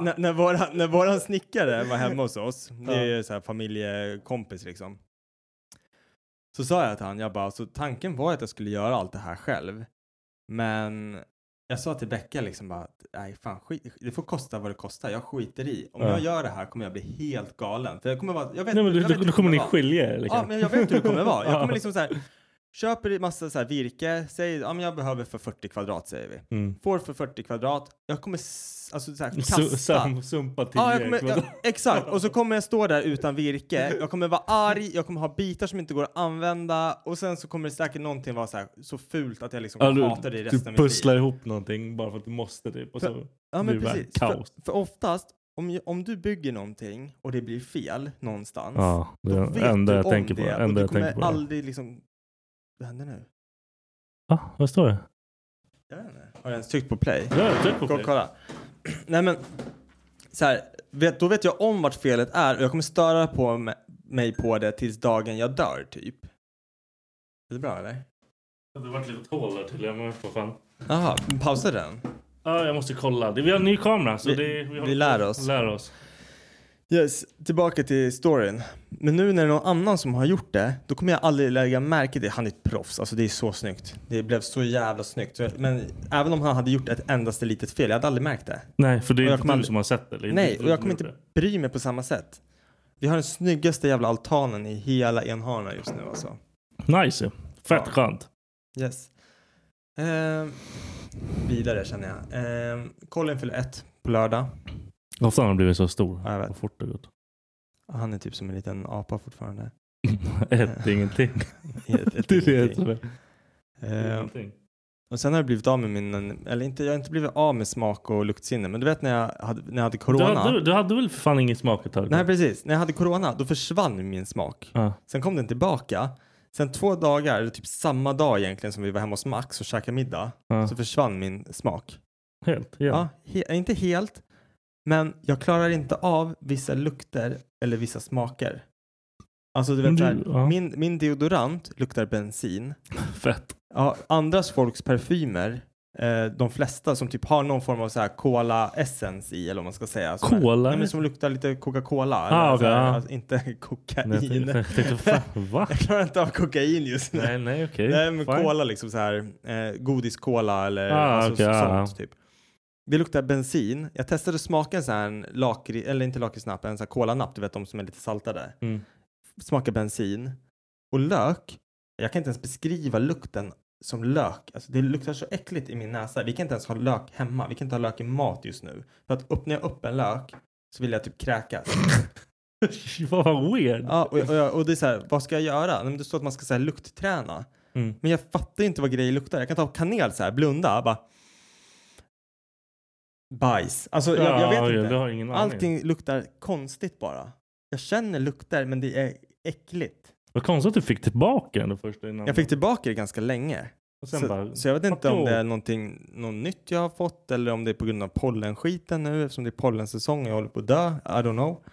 Speaker 3: när, när, våran, när våran snickare var hemma hos oss, det är ju så här familjekompis liksom. Så sa jag till han, jag bara, så tanken var att jag skulle göra allt det här själv. Men jag sa till Becka liksom bara, att, nej fan skit, det får kosta vad det kostar, jag skiter i. Om
Speaker 5: Ja.
Speaker 3: jag gör det här kommer jag bli helt galen. För jag kommer vara, jag vet,
Speaker 5: Nej, men
Speaker 3: jag
Speaker 5: du,
Speaker 3: vet hur
Speaker 5: du,
Speaker 3: det
Speaker 5: då kommer ni
Speaker 3: vara.
Speaker 5: skilja er. Liksom.
Speaker 3: Ja, men jag vet hur det kommer vara. Jag kommer
Speaker 5: *laughs* Ja.
Speaker 3: liksom så här, köper massa så här virke, säger ja, men jag behöver för 40 kvadrat säger vi.
Speaker 5: Mm.
Speaker 3: Får för 40 kvadrat, jag kommer s- alltså så här,
Speaker 5: Su-
Speaker 3: kasta.
Speaker 5: sam- Sumpa till
Speaker 3: Ja, jag
Speaker 5: er liksom.
Speaker 3: kommer,
Speaker 5: kvadrat.
Speaker 3: jag, exakt, och så kommer jag stå där utan virke, jag kommer vara arg, jag kommer ha bitar som inte går att använda och sen så kommer det säkert någonting vara så, här, så fult att jag liksom
Speaker 5: Ja,
Speaker 3: hatar det i
Speaker 5: du,
Speaker 3: resten
Speaker 5: du
Speaker 3: av mitt liv.
Speaker 5: pusslar ihop någonting bara för att du måste typ. Och så,
Speaker 3: Ja,
Speaker 5: Det
Speaker 3: men
Speaker 5: är bara
Speaker 3: precis. För,
Speaker 5: kaos.
Speaker 3: för oftast, om, ju- om du bygger någonting och det blir fel någonstans,
Speaker 5: ja, det
Speaker 3: då
Speaker 5: är
Speaker 3: vet
Speaker 5: det enda
Speaker 3: du
Speaker 5: jag
Speaker 3: om
Speaker 5: tänker på.
Speaker 3: det och
Speaker 5: Enda
Speaker 3: du
Speaker 5: jag
Speaker 3: kommer
Speaker 5: tänker på.
Speaker 3: aldrig liksom... Vad händer nu?
Speaker 5: Va? Ah, Vad står det?
Speaker 3: Jag vet inte. Har jag ens tryckt på play?
Speaker 5: Ja, tryck på
Speaker 3: Gå
Speaker 5: play.
Speaker 3: och kolla. *clears throat* Nej men, så här, vet, då vet jag om vart felet är och jag kommer störa på mig, mig på det tills dagen jag dör, typ. Är det bra, eller?
Speaker 5: Det vart ett litet hål där tydligen. Men vad fan.
Speaker 3: Jaha, pausa den.
Speaker 5: Ja, jag måste kolla. Det- Vi har en ny kamera. Så
Speaker 3: Vi-
Speaker 5: det, håller
Speaker 3: vi
Speaker 5: på-
Speaker 3: lär oss.
Speaker 5: Lär oss.
Speaker 3: Yes, tillbaka till storyn. Men nu när det är någon annan som har gjort det, då kommer jag aldrig lägga märke till Han är ett proffs, alltså det är så snyggt. Det blev så jävla snyggt. Så- Men även om han hade gjort ett endaste litet fel, jag hade aldrig märkt det.
Speaker 5: Nej, för det
Speaker 3: Och
Speaker 5: är
Speaker 3: jag
Speaker 5: inte
Speaker 3: kommer
Speaker 5: du
Speaker 3: aldrig-
Speaker 5: som har sett det. eller inte
Speaker 3: Nej,
Speaker 5: du
Speaker 3: och jag
Speaker 5: som
Speaker 3: kommer
Speaker 5: gjort
Speaker 3: inte bry mig på samma sätt. Vi har den snyggaste jävla altanen i hela Enhörna just nu alltså.
Speaker 5: det. Nice. ja. Fett
Speaker 3: Ja.
Speaker 5: skönt.
Speaker 3: Yes. Ehm, vidare känner jag. Ehm, Colin fyller ett på lördag.
Speaker 5: Ofta har han blivit så stor.
Speaker 3: Ja, jag vet.
Speaker 5: Vad fort det gått.
Speaker 3: Han är typ som en liten apa fortfarande.
Speaker 5: *laughs*
Speaker 3: *laughs*
Speaker 5: Ett är ingenting. *laughs*
Speaker 3: Ett- ett
Speaker 5: Det är det
Speaker 3: ingenting.
Speaker 5: som är-
Speaker 3: Ehm,
Speaker 5: ingenting.
Speaker 3: Och sen har jag blivit av med min, eller inte, jag har inte blivit av med smak och luktsinne. Men du vet när jag hade, när jag hade
Speaker 5: Du
Speaker 3: corona.
Speaker 5: hade, du hade väl för fan ingen smak ett tag?
Speaker 3: Nej precis, när jag hade corona då försvann min smak.
Speaker 5: Ja.
Speaker 3: Sen kom den tillbaka. Sen två dagar, eller typ samma dag egentligen som vi var hemma hos Max och käkade middag.
Speaker 5: Ja.
Speaker 3: Så försvann min smak.
Speaker 5: Helt. Ja.
Speaker 3: Ja, he- inte helt. Men jag klarar inte av vissa lukter eller vissa smaker. Alltså du
Speaker 5: Men
Speaker 3: vet
Speaker 5: du-
Speaker 3: så här,
Speaker 5: ja.
Speaker 3: min, min deodorant luktar bensin.
Speaker 5: Fett.
Speaker 3: Ja, andras folks parfymer, eh, de flesta som typ har någon form av så här cola essens i eller vad man ska säga. Som är-
Speaker 5: Cola?
Speaker 3: Nej, men som luktar lite Coca-Cola.
Speaker 5: Ah,
Speaker 3: eller
Speaker 5: okej,
Speaker 3: så här,
Speaker 5: ja.
Speaker 3: alltså, inte *laughs*
Speaker 5: Nej,
Speaker 3: kokain. *laughs*
Speaker 5: jag tänkte- jag tänkte, fan, va?
Speaker 3: Jag klarar inte av kokain just nu.
Speaker 5: Nej, nej, okej.
Speaker 3: Nej, men
Speaker 5: Fine.
Speaker 3: cola liksom så här, eh, godis-cola eller
Speaker 5: Ah,
Speaker 3: alltså,
Speaker 5: okej,
Speaker 3: sånt
Speaker 5: ja, ja.
Speaker 3: typ. Det luktar bensin. Jag testade smaken så här en lakri, eller inte lakritsnapp, en sån här kolanapp, du vet de som är lite saltade.
Speaker 5: Mm.
Speaker 3: Smakar bensin. Och lök, jag kan inte ens beskriva lukten som lök. Alltså det luktar så äckligt i min näsa. Vi kan inte ens ha lök hemma. Vi kan inte ha lök i mat just nu. För att öppnar jag upp en lök så vill jag typ kräkas.
Speaker 5: *laughs* Fan, *laughs* vad weird.
Speaker 3: Ja, och, och, jag- och det är så här, vad ska jag göra? Nej, men det står att man ska så här, luktträna.
Speaker 5: Mm.
Speaker 3: Men jag fattar ju inte vad grejer luktar. Jag kan ta kanel så här, blunda, bara... Bajs. Alltså, jag, jag
Speaker 5: Ja,
Speaker 3: vet
Speaker 5: ja,
Speaker 3: inte.
Speaker 5: Du har ingen aning.
Speaker 3: Allting luktar konstigt bara. Jag känner lukter, men det är äckligt.
Speaker 5: Vad konstigt att du fick tillbaka den först innan.
Speaker 3: Jag fick tillbaka det ganska länge.
Speaker 5: och Mm. sen
Speaker 3: Så,
Speaker 5: bara,
Speaker 3: så jag vet inte om
Speaker 5: Vadå?
Speaker 3: det är någonting, något nytt jag har fått eller om det är på grund av pollenskiten nu eftersom det är pollensäsong och jag håller på att dö. I don't know.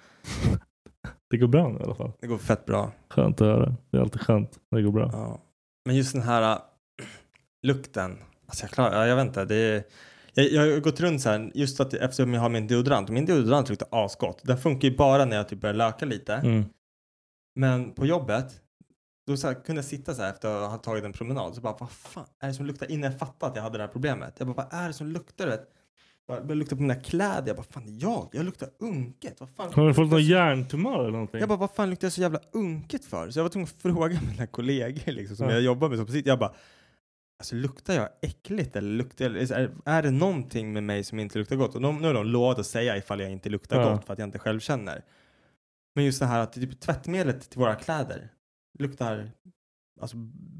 Speaker 5: det går bra nu i alla fall.
Speaker 3: Det går fett bra.
Speaker 5: Skönt att höra. Det är alltid skönt när det går bra.
Speaker 3: Ja. Men just den här äh, *clears throat* lukten. Alltså jag klarar, ja, jag vet inte. Det är, jag, jag har gått runt så här just att eftersom jag har min deodorant. Min deodorant luktar asgott. Den funkar ju bara när jag typ börjar löka lite.
Speaker 5: Mm.
Speaker 3: Men på jobbet då så här, kunde jag sitta så här efter att ha tagit en promenad. Så bara vad fan är det som luktar? Innan jag fattade att jag hade det här problemet. Jag bara vad är det som luktar? Du vet? Jag började lukta på mina kläder. Jag bara fan det är jag? Jag luktar unket. Vad fan?
Speaker 5: Har du fått någon hjärntumör eller någonting?
Speaker 3: Jag bara, vad fan luktar jag så jävla unket för? Så jag var tvungen att fråga *laughs* mina kollegor liksom, som
Speaker 5: Ja.
Speaker 3: jag jobbar med. Som precis, jag bara, alltså luktar jag äckligt eller luktar jag, är, är det någonting med mig som inte luktar gott? Och de, nu har de lovat att säga ifall jag inte luktar
Speaker 5: Ja.
Speaker 3: gott för att jag inte själv känner. Men just det här att typ, tvättmedlet till våra kläder luktar alltså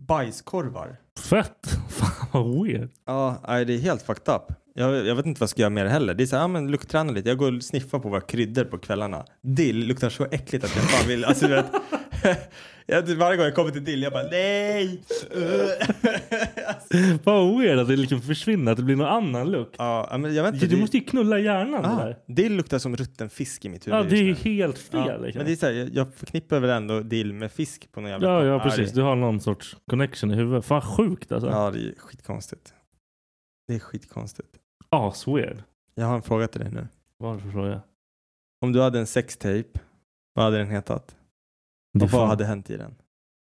Speaker 3: bajskorvar.
Speaker 5: Fett! *laughs* Fan vad weird.
Speaker 3: Ja, nej, det är helt fucked up. Jag, jag vet inte vad jag ska göra mer heller. Det är så här, ja men luktträna lite. Jag går och sniffar på våra kryddor på kvällarna. Dill luktar så äckligt att jag fan vill, alltså du vet. *laughs* jag, typ varje gång jag kommer till dill, jag bara nej! *laughs* alltså,
Speaker 5: Fan vad weird att det liksom försvinner, att det blir någon annan look.
Speaker 3: ja, ja, men jag vet inte.
Speaker 5: Du, du måste ju knulla hjärnan det
Speaker 3: ah,
Speaker 5: där.
Speaker 3: dill luktar som rutten fisk i mitt huvud
Speaker 5: Ja, det är ju
Speaker 3: just nu.
Speaker 5: helt fel.
Speaker 3: Ja,
Speaker 5: liksom.
Speaker 3: men det är så här, jag, jag förknippar väl ändå dill med fisk på något jävla
Speaker 5: ja,
Speaker 3: Ah,
Speaker 5: ja,
Speaker 3: det-
Speaker 5: precis. Du har någon sorts connection i huvudet. Fan sjukt alltså.
Speaker 3: Ja, det är skitkonstigt. Det är skitkonstigt.
Speaker 5: Asweird.
Speaker 3: Jag har en fråga till dig nu.
Speaker 5: Varför frågar jag?
Speaker 3: Om du hade en sextape, vad hade den hetat?
Speaker 5: Det är
Speaker 3: Och vad
Speaker 5: fan-
Speaker 3: hade hänt i den?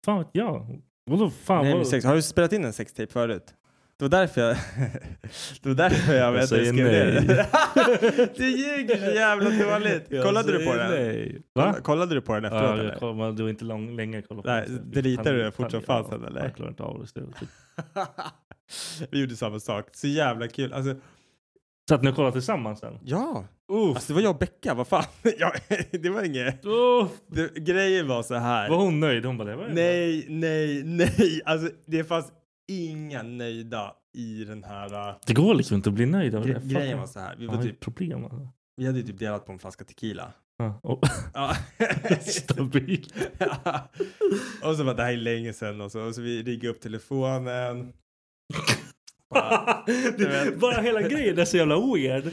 Speaker 5: Fan vet jag. Vadå fan?
Speaker 3: Nej,
Speaker 5: vad-
Speaker 3: men sex. Har du spelat in en sextape förut? Det var därför jag... *laughs* det var därför jag, vet att
Speaker 5: säger
Speaker 3: skrev
Speaker 5: nej.
Speaker 3: *laughs* det. du ljuger så jävla dåligt. *laughs*
Speaker 5: Jag
Speaker 3: Kollade du på
Speaker 5: säger
Speaker 3: den?
Speaker 5: Nej. Va?
Speaker 3: Kollade du på den efteråt
Speaker 5: Ja, jag
Speaker 3: eller?
Speaker 5: kollade, det var inte lång, länge jag kollade på
Speaker 3: Nej,
Speaker 5: det. Typ
Speaker 3: deletar du det
Speaker 5: panik-
Speaker 3: fort som
Speaker 5: panik-
Speaker 3: fan
Speaker 5: ja,
Speaker 3: sen, eller?
Speaker 5: Jag klarar inte av det. så det var Typ.
Speaker 3: Vi gjorde samma sak. Så jävla kul. Alltså,
Speaker 5: Så att ni kollar tillsammans sen?
Speaker 3: ja.
Speaker 5: Uff.
Speaker 3: Alltså det var jag och Becka, vad fan. *laughs* Ja, det var inget...
Speaker 5: Uff.
Speaker 3: Det, grejen var så här.
Speaker 5: Var hon nöjd? Hon bara, det var ju-
Speaker 3: Nej, nej, nej. Alltså det fanns inga nöjda i den här... äh,
Speaker 5: Det går liksom inte att bli nöjd av det.
Speaker 3: Gre-
Speaker 5: Fuck.
Speaker 3: grejen var så här. Vi
Speaker 5: Jag
Speaker 3: var
Speaker 5: har
Speaker 3: typ
Speaker 5: ett problem alltså.
Speaker 3: Vi hade ju typ delat på en flaska tequila.
Speaker 5: Ja,
Speaker 3: *laughs*
Speaker 5: och- *laughs*
Speaker 3: Ja.
Speaker 5: Stabil.
Speaker 3: Ja. och så bara, det här är länge sedan och så, och så vi ringer upp telefonen. Bara,
Speaker 5: Det-
Speaker 3: vet.
Speaker 5: Bara hela grejen är så jävla weird.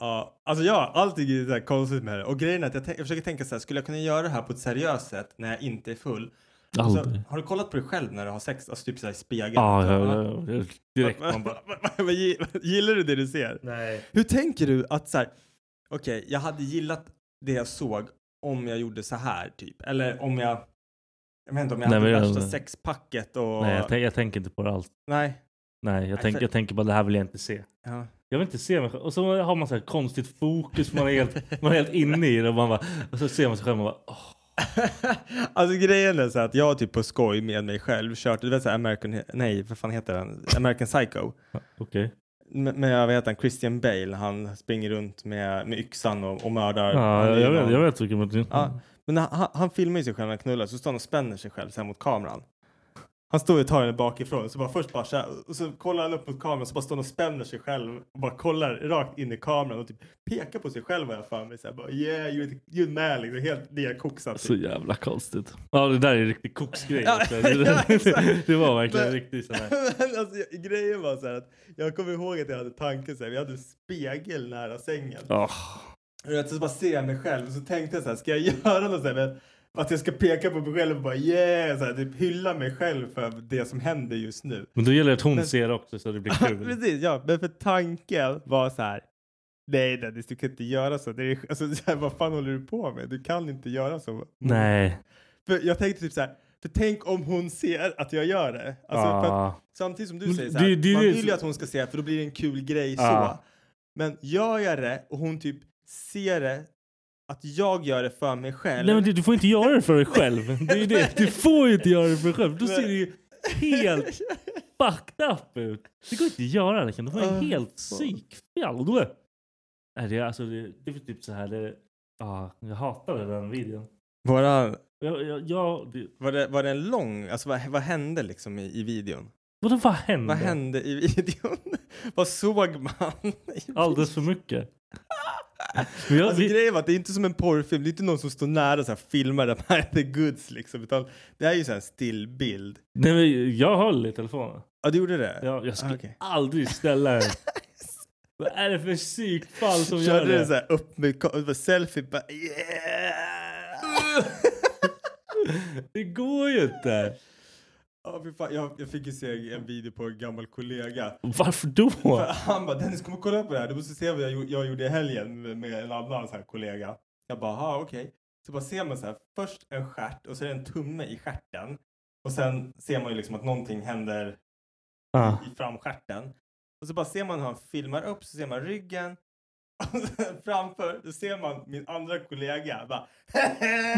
Speaker 3: Ja, alltså ja, allting är så här konstigt med det. Och grejen är att jag, tänk, jag försöker tänka så här, skulle jag kunna göra det här på ett seriöst sätt när jag inte är full? Och Så,
Speaker 5: Aldrig.
Speaker 3: har du kollat på dig själv när du har sex? Alltså typ så här i spegeln.
Speaker 5: Ja, ja, ja, ja, direkt. Man bara,
Speaker 3: Vad gi- *laughs* Gillar du det du ser?
Speaker 5: nej.
Speaker 3: Hur tänker du att så här, okej, jag hade gillat det jag såg om jag gjorde så här typ. Eller om jag, jag vet inte om jag
Speaker 5: Nej,
Speaker 3: hade
Speaker 5: men jag-
Speaker 3: värsta sexpacket och...
Speaker 5: Nej, jag, tänk, jag tänker inte på det alls.
Speaker 3: Nej.
Speaker 5: Nej, jag,
Speaker 3: för-
Speaker 5: tänk, jag tänker bara det här vill jag inte se.
Speaker 3: Ja.
Speaker 5: Jag vill inte se mig själv. Och så har man så här konstigt fokus. Man är helt, man är helt inne i det. Och, man bara, och så ser man sig själv och man bara... åh.
Speaker 3: Alltså grejen är så här att jag typ på skoj med mig själv kört, du vet så här American, nej vad fan heter den? American Psycho.
Speaker 5: Okej.
Speaker 3: Med, med vad heter han, Christian Bale, han springer runt med, med yxan och, och mördar.
Speaker 5: Ja,
Speaker 3: Han är
Speaker 5: jag, jag, vet,
Speaker 3: någon-
Speaker 5: jag vet vilken man...
Speaker 3: Ja, men han- han, han filmar ju sig själv när han knullar så står han och spänner sig själv så här mot kameran. Han står ju och tar henne bakifrån så bara först bara så här, och så kollar han upp mot kameran så bara står han och spänner sig själv och bara kollar rakt in i kameran och typ pekar på sig själv har jag för mig så här bara yeah you're, you're man liksom helt nerkoksad. Typ. *laughs*
Speaker 5: Så jävla konstigt. Ja, det där är en riktig koksgrej.
Speaker 3: Ja, *laughs*
Speaker 5: också.
Speaker 3: ja,
Speaker 5: det,
Speaker 3: exakt.
Speaker 5: *laughs* det var verkligen
Speaker 3: Men-
Speaker 5: riktigt
Speaker 3: *laughs*
Speaker 5: sån här...
Speaker 3: Men alltså, jag- grejen var så här att jag kommer ihåg att jag hade tanken så här, vi hade en spegel nära sängen.
Speaker 5: Åh.
Speaker 3: Och jag så bara ser jag mig själv och så tänkte jag så här, ska jag göra något så här, med- att jag ska peka på mig själv och bara yeah, så här, typ hylla mig själv för det som händer just nu.
Speaker 5: Men då gäller det att hon
Speaker 3: Men-
Speaker 5: ser det också så det blir kul.
Speaker 3: Precis, ja, men för tanken var så här, nej Dennis, du kan inte göra så. Det är, alltså, så här, vad fan håller du på med? Du kan inte göra så.
Speaker 5: Nej.
Speaker 3: För jag tänkte typ så här, för tänk om hon ser att jag gör det. Alltså, för att,
Speaker 5: ah.
Speaker 3: Samtidigt som du
Speaker 5: Men
Speaker 3: säger
Speaker 5: det-
Speaker 3: så här,
Speaker 5: det- det-
Speaker 3: man
Speaker 5: det-
Speaker 3: vill ju att hon ska se för då blir det en kul grej
Speaker 5: Ja.
Speaker 3: så. Men gör jag det och hon typ ser det, att jag gör det för mig själv.
Speaker 5: Nej men du, du får inte göra det för dig själv. Det är ju det. Du får ju inte göra det för dig själv. Då ser det ju helt fucked up ut. Det går inte att göra det. Du får en
Speaker 3: Ah,
Speaker 5: helt
Speaker 3: fan.
Speaker 5: psykfjall. Och då är Nej, det, är alltså, det, det är typ så här. Det, ah, jag hatade den videon.
Speaker 3: Våra,
Speaker 5: Jag, jag, jag, det,
Speaker 3: var, det, var det en lång, alltså vad, vad hände liksom i, i videon?
Speaker 5: vadå, vad hände?
Speaker 3: Vad hände i *laughs* videon? vad såg man? i
Speaker 5: Alldeles för mycket. Men jag,
Speaker 3: Alltså,
Speaker 5: vi,
Speaker 3: grejen var att det är inte som en porrfilm, det är inte någon som står nära och så här filmar de här *laughs* the goods liksom, utan det här är ju så här en stillbild.
Speaker 5: nej, men jag höll i telefonen.
Speaker 3: Ja, du gjorde det?
Speaker 5: Jag, jag skulle
Speaker 3: Ah, okej.
Speaker 5: aldrig ställa
Speaker 3: *laughs*
Speaker 5: den. Vad är det för psykfall som gör
Speaker 3: Körde
Speaker 5: det?
Speaker 3: du så här upp med ka- det var selfie, bara
Speaker 5: *laughs*
Speaker 3: yeah!
Speaker 5: Det går ju inte.
Speaker 3: Ja, fy fan. Jag, jag fick ju se en video på en gammal kollega.
Speaker 5: Varför då?
Speaker 3: För han bara, Dennis kommer kolla på det här, du måste se vad jag, gjorde- jag gjorde i helgen med, med en annan så här kollega. Jag bara, aha, okej. Så bara ser man så här, först en stjärt och så är det en tumme i stjärten. Och sen ser man ju liksom att någonting händer
Speaker 5: Ah.
Speaker 3: i framstjärten. Och så bara ser man hur han filmar upp, så ser man ryggen. *laughs* Och sen framför, då ser man min andra kollega bara *laughs*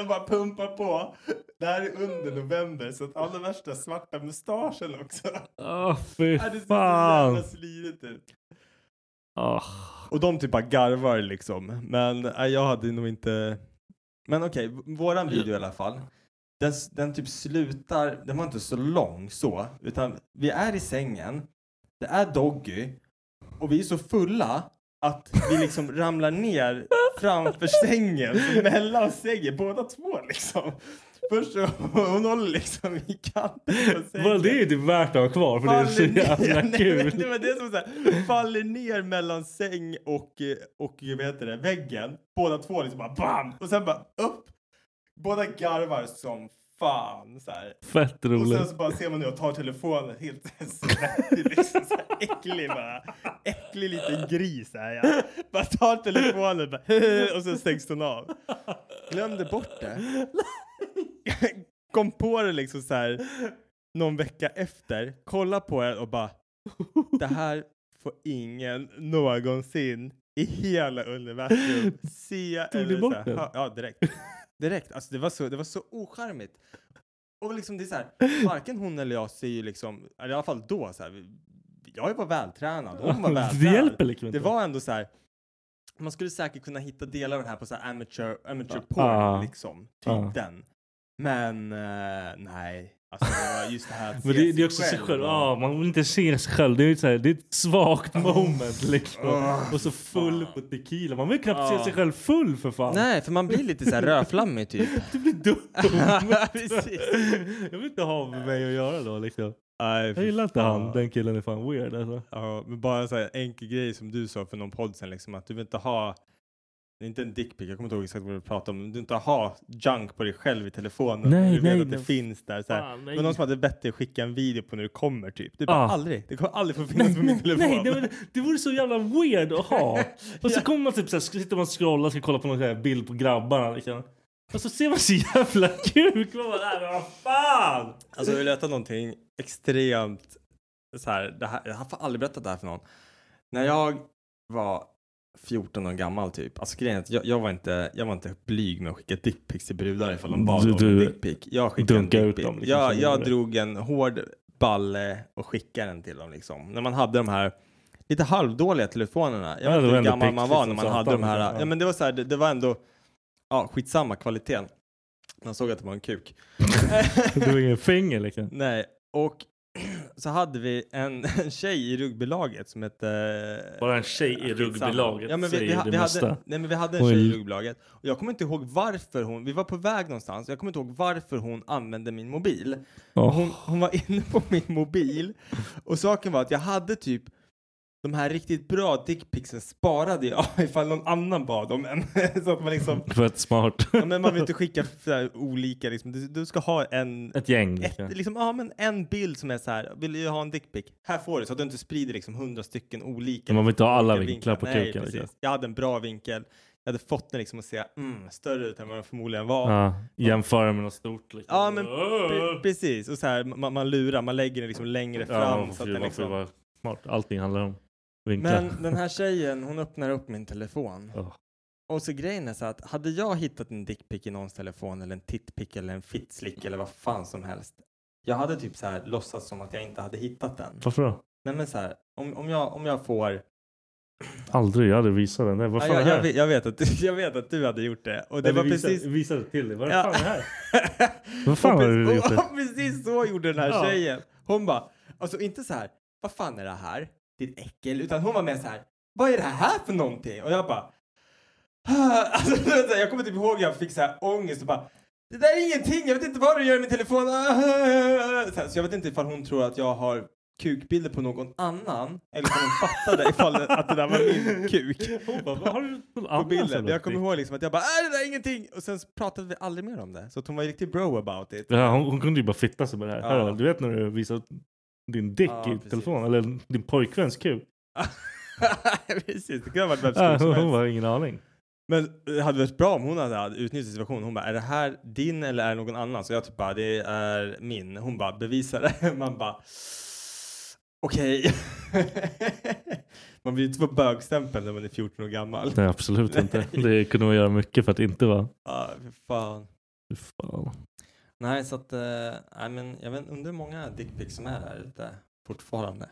Speaker 3: och bara pumpar på. Det här är under november, så att alla värsta svarta mustaschen också.
Speaker 5: Åh,
Speaker 3: *laughs*
Speaker 5: fy
Speaker 3: Ja, Det ser så
Speaker 5: fan. Ah.
Speaker 3: jävla slirigt ut.
Speaker 5: Åh.
Speaker 3: Och de typ bara garvar liksom. Men nej, jag hade nog inte... Men okej, v- våran video i alla fall. Den, s- den typ slutar, den var inte så lång så, utan vi är i sängen, det är Doggy och vi är så fulla att vi liksom ramlar ner framför sängen, mellan sängen, båda två liksom. Först så, hon håller liksom i kanten på sängen.
Speaker 5: Well, det är ju typ värt att ha kvar för det är så
Speaker 3: Faller ner.
Speaker 5: jävla
Speaker 3: *laughs* Nej, men Det
Speaker 5: kul.
Speaker 3: var det som så här, faller ner mellan säng och, eh, och vad heter det, väggen. Båda två liksom bara bam! Och sen bara upp. Båda garvar som fan så här.
Speaker 5: Fett
Speaker 3: Och sen
Speaker 5: roligt.
Speaker 3: så bara ser man hur jag tar telefonen helt *laughs* svettig liksom så här äcklig bara. Äcklig liten gris här ja. Bara tar telefonen bara, *laughs* och sen stängs den av. Glömde bort det. Kom på det liksom så här någon vecka efter. Kolla på det och bara det här får ingen någonsin i hela
Speaker 5: *laughs*
Speaker 3: universum se.
Speaker 5: Tog
Speaker 3: eller
Speaker 5: du
Speaker 3: så
Speaker 5: bort
Speaker 3: här,
Speaker 5: den?
Speaker 3: hö- Ja, direkt. Direkt. Alltså det var så, det var så ocharmigt. Och liksom det är så
Speaker 5: *laughs*
Speaker 3: här, varken hon eller jag ser ju liksom, eller i alla fall då så här, vi- jag var vältränad, hon var vältränad.
Speaker 5: *laughs* Ah, Det hjälper liksom inte.
Speaker 3: Det var ändå så här, man skulle säkert kunna hitta delar av det här på så här amateur, amateur porn
Speaker 5: Ah.
Speaker 3: liksom, typ
Speaker 5: Ah.
Speaker 3: den. Men eh, nej, alltså det var just det här att
Speaker 5: *laughs* Men det, det är också sig själv.
Speaker 3: och-
Speaker 5: Ja, man vill inte se sig själv. Det är, ju så här, det är ett svagt moment liksom.
Speaker 3: Åh,
Speaker 5: Och så full
Speaker 3: fan.
Speaker 5: på tequila. Man vill knappt se
Speaker 3: Ja.
Speaker 5: sig sjsjälv full för fan. *laughs*
Speaker 3: Nej, för man blir lite så här rödflammig typ. *laughs*
Speaker 5: Du blir dum.
Speaker 3: Precis.
Speaker 5: Jag vill inte ha med mig att göra då liksom.
Speaker 3: Nej, fy
Speaker 5: Jag gillar inte
Speaker 3: fan.
Speaker 5: han. Den killen är fan weird alltså.
Speaker 3: Ja, men bara en sån här enkel grej som du sa för någon podd sen, liksom, att du vill inte ha, det är inte en dickpic, jag kommer inte ihåg exakt vad du pratade om, men du vill inte ha junk på dig själv i telefonen.
Speaker 5: Nej,
Speaker 3: du vet
Speaker 5: nej,
Speaker 3: att det
Speaker 5: nej.
Speaker 3: finns där. Så här.
Speaker 5: Fan,
Speaker 3: Det
Speaker 5: nej.
Speaker 3: var någon som hade bett dig skicka en video på när du kommer typ. Du bara
Speaker 5: Ah.
Speaker 3: aldrig, det kommer aldrig få finnas
Speaker 5: Nej,
Speaker 3: på min
Speaker 5: nej,
Speaker 3: telefon.
Speaker 5: nej det, var, det vore så jävla weird att ha. Och *laughs* så kommer man typ så här, sitter man och scrollar ska kolla på någon så här bild på grabbarna. Liksom. Och så ser man så jävla *laughs* kuk. Man bara, "Nej, men vad fan!
Speaker 3: Alltså jag vill veta någonting extremt så här, det här, jag har fan aldrig berättat det här för någon. När
Speaker 5: Mm.
Speaker 3: jag var 14 år gammal typ, alltså grejen är att jag, jag, var inte, jag var inte blyg med att skicka dickpics till brudar ifall de bad
Speaker 5: Du-
Speaker 3: om en
Speaker 5: du
Speaker 3: dickpic. Jag skickade en
Speaker 5: dunkade ut
Speaker 3: dickpic.
Speaker 5: dem, liksom,
Speaker 3: jag
Speaker 5: som
Speaker 3: jag
Speaker 5: gjorde det.
Speaker 3: drog en hård balle och skickade den till dem liksom. När man hade de här lite halvdåliga telefonerna. Jag vet
Speaker 5: Ja, det var
Speaker 3: inte hur
Speaker 5: ändå
Speaker 3: gammal man
Speaker 5: pixligt
Speaker 3: var när
Speaker 5: som
Speaker 3: man
Speaker 5: satan,
Speaker 3: hade de här.
Speaker 5: liksom.
Speaker 3: Ja men det var så här, det, det var ändå, ja skitsamma kvaliteten. Man såg att det var en kuk.
Speaker 5: Du var ingen finger liksom.
Speaker 3: Nej, och *clears throat* så hade vi en, *laughs* en tjej i rugbylaget som hette...
Speaker 5: Bara en tjej i
Speaker 3: Skitsamma.
Speaker 5: rugbylaget
Speaker 3: ja, men vi,
Speaker 5: säger
Speaker 3: vi, ha-
Speaker 5: det
Speaker 3: vi
Speaker 5: mesta.
Speaker 3: hade, Nej men vi hade en
Speaker 5: Oj.
Speaker 3: tjej i rugbylaget. Och jag kommer inte ihåg varför hon... Vi var på väg någonstans. Jag kommer inte ihåg varför hon använde min mobil. Och Hon, hon var *laughs* inne på min mobil. Och saken var att jag hade typ... De här riktigt bra dickpicsen *laughs* sparade jag ifall någon annan bad om en. *laughs* Så att man liksom...
Speaker 5: Fett smart. *laughs*
Speaker 3: Ja, men man vill inte skicka så här olika liksom. Du, du ska ha en,
Speaker 5: Ett gäng. liksom.
Speaker 3: ett, liksom, ja, men en bild som är så här, vill du ha en dickpic? Här får du, så att du inte sprider liksom hundra stycken olika.
Speaker 5: Man vill inte ha alla
Speaker 3: olika
Speaker 5: vinklar på
Speaker 3: Nej,
Speaker 5: kuken. Liksom.
Speaker 3: precis. Jag hade en bra vinkel. Jag hade fått den liksom att se mm, större ut än vad den förmodligen var.
Speaker 5: Ja, jämföra med något stort. Liksom.
Speaker 3: Ja, men Pre-
Speaker 5: Åh!
Speaker 3: precis, och så här, man, man lurar, man lägger den liksom längre
Speaker 5: Ja,
Speaker 3: fram.
Speaker 5: man
Speaker 3: så
Speaker 5: får
Speaker 3: att
Speaker 5: ju-
Speaker 3: den
Speaker 5: man får ju
Speaker 3: liksom...
Speaker 5: vara smart. Allting handlar om vinklar.
Speaker 3: Men den här tjejen, hon öppnar upp min telefon.
Speaker 5: Ja.
Speaker 3: Och så grejen är så att hade jag hittat en dickpic i någons telefon eller en tittpic eller en fittslick eller vad fan som helst. Jag hade typ så här låtsats som att jag inte hade hittat den.
Speaker 5: Varför då?
Speaker 3: Nej men så här, om, om, jag, om jag får...
Speaker 5: Aldrig. Jag hade visat den där. Vad
Speaker 3: Ja,
Speaker 5: fan
Speaker 3: jag,
Speaker 5: är det
Speaker 3: jag,
Speaker 5: här?
Speaker 3: vet- jag, vet att, du- *laughs* jag vet att du hade gjort det. Och det var precis...
Speaker 5: Visade till dig. Vad
Speaker 3: Ja.
Speaker 5: fan är det
Speaker 3: *laughs*
Speaker 5: här? Vad fan
Speaker 3: och,
Speaker 5: har du
Speaker 3: precis- *laughs*
Speaker 5: gjort?
Speaker 3: och, och precis så gjorde den här
Speaker 5: Ja.
Speaker 3: tjejen. Hon bara, alltså inte så här, vad fan är det här? Ditt äckel. Utan hon var mer så här, vad är det här för någonting? Och jag bara, *sighs* "Ah." alltså, du vet så här, jag kommer typ ihåg jag fick så här ångest och bara, det där är ingenting, jag vet inte vad du gör i min telefon. *laughs* Så, här, så jag vet inte ifall hon tror att jag har kukbilder på någon annan eller om hon fattade ifall att det där var min kuk
Speaker 5: *laughs* Hon bara, "Vad har du någon
Speaker 3: på
Speaker 5: annan
Speaker 3: bilden.
Speaker 5: jävla
Speaker 3: Jag kommer
Speaker 5: dick?"
Speaker 3: ihåg liksom att jag bara äh, det där är ingenting och sen så pratade vi aldrig mer om det. Så att hon var riktigt bro about it.
Speaker 5: Ja, hon, hon kunde ju bara fitta sig med det här.
Speaker 3: Ja.
Speaker 5: Hör Du du vet när du visar din dick
Speaker 3: Ja,
Speaker 5: i
Speaker 3: precis.
Speaker 5: telefon eller din pojkväns kuk.
Speaker 3: *laughs* Precis, det kunde ha varit vem
Speaker 5: Ja,
Speaker 3: som
Speaker 5: *laughs* hon,
Speaker 3: helst.
Speaker 5: har ingen aning.
Speaker 3: Men det hade varit bra om hon hade hade utnyttjat situationen. Hon bara är det här din eller är det någon annan? Så jag typ bara det är min. Hon bara bevisa det. *laughs* Man bara okej. *laughs* man blir ju inte på bögstämpel när man är 14 år gammal.
Speaker 5: Nej, absolut inte. Det kunde hon göra mycket för att inte vara.
Speaker 3: Ah, fy fan.
Speaker 5: Fy Fan.
Speaker 3: Nej, så att eh, nej, men jag vet, undrar hur många dickpics som är här ute fortfarande.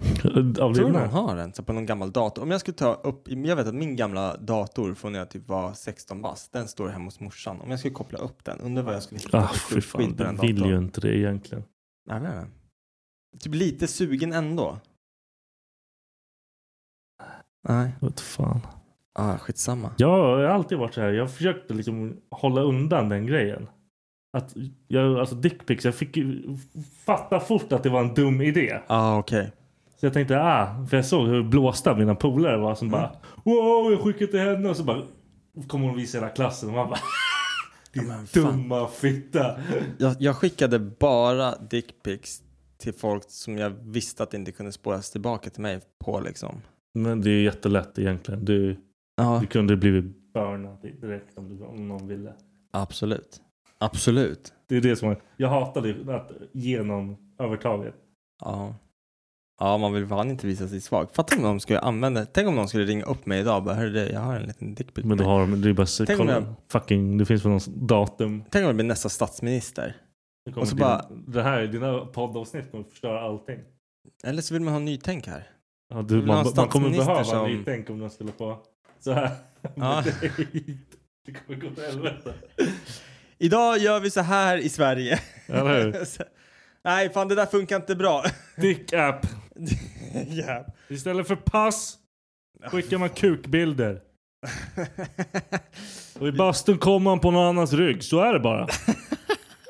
Speaker 5: Av
Speaker 3: Tror du
Speaker 5: dina?
Speaker 3: någon har en så på någon gammal dator? Om jag skulle ta upp, jag vet att min gamla dator från när jag typ var 16 bast, den står hemma hos morsan. Om jag skulle koppla upp den, undrar vad jag skulle hitta
Speaker 5: Ah,
Speaker 3: för
Speaker 5: fy
Speaker 3: sjukt
Speaker 5: fan.
Speaker 3: skit på den
Speaker 5: Den vill ju
Speaker 3: datorn.
Speaker 5: inte det egentligen.
Speaker 3: Nej, nej, nej. Typ lite sugen ändå. Nej,
Speaker 5: Vet fan.
Speaker 3: ah, skitsamma.
Speaker 5: Jag har alltid varit så här. Jag försökte liksom hålla undan den grejen. Att jag, alltså dickpics, jag fick ju fatta fort att det var en dum idé.
Speaker 3: Ah, okej.
Speaker 5: Så jag tänkte, ah, för jag såg hur blåsta mina polare var
Speaker 3: Mm.
Speaker 5: som bara Wow, jag skickar till henne och så bara kommer hon visa hela klassen och man bara *laughs* Din
Speaker 3: men fan.
Speaker 5: dumma fitta.
Speaker 3: Jag, jag skickade bara dickpics till folk som jag visste att inte kunde spåras tillbaka till mig på liksom.
Speaker 5: Men det är jättelätt egentligen. Du,
Speaker 3: Ja,
Speaker 5: du kunde blivit burnad direkt om, du, om någon ville.
Speaker 3: absolut. Absolut.
Speaker 5: Det är det som är, jag hatade att genom övertaget.
Speaker 3: Ja. Ja, man vill fan inte visa sig svag. Fattar om de skulle använda, tänk om någon skulle ringa upp mig idag och bara "Hörru du, jag har en liten dickpic.
Speaker 5: Men då har de, det är bara så,
Speaker 3: Tänk om
Speaker 5: kolla,
Speaker 3: jag-
Speaker 5: fucking, det finns väl någon datum.
Speaker 3: Tänk om det blir nästa statsminister.
Speaker 5: Det, kommer
Speaker 3: Och så
Speaker 5: dina,
Speaker 3: bara-
Speaker 5: det här, dina poddavsnitt kommer förstöra allting.
Speaker 3: Eller så vill man ha nytänk här.
Speaker 5: Ja,
Speaker 3: Vi
Speaker 5: du,
Speaker 3: vill ha
Speaker 5: man,
Speaker 3: en
Speaker 5: man kommer
Speaker 3: statsminister
Speaker 5: behöva
Speaker 3: som-
Speaker 5: nytänk om de skulle få så här. *laughs*
Speaker 3: Ja.
Speaker 5: med dig. det kommer gå åt helvete.
Speaker 3: Idag gör vi så här i Sverige. *laughs*
Speaker 5: Eller hur?
Speaker 3: Nej, fan det där funkar inte bra. *laughs*
Speaker 5: Dick app.
Speaker 3: yeah.
Speaker 5: Istället för pass skickar man kukbilder. Och i bastun kommer man på någon annans rygg. Så är det bara.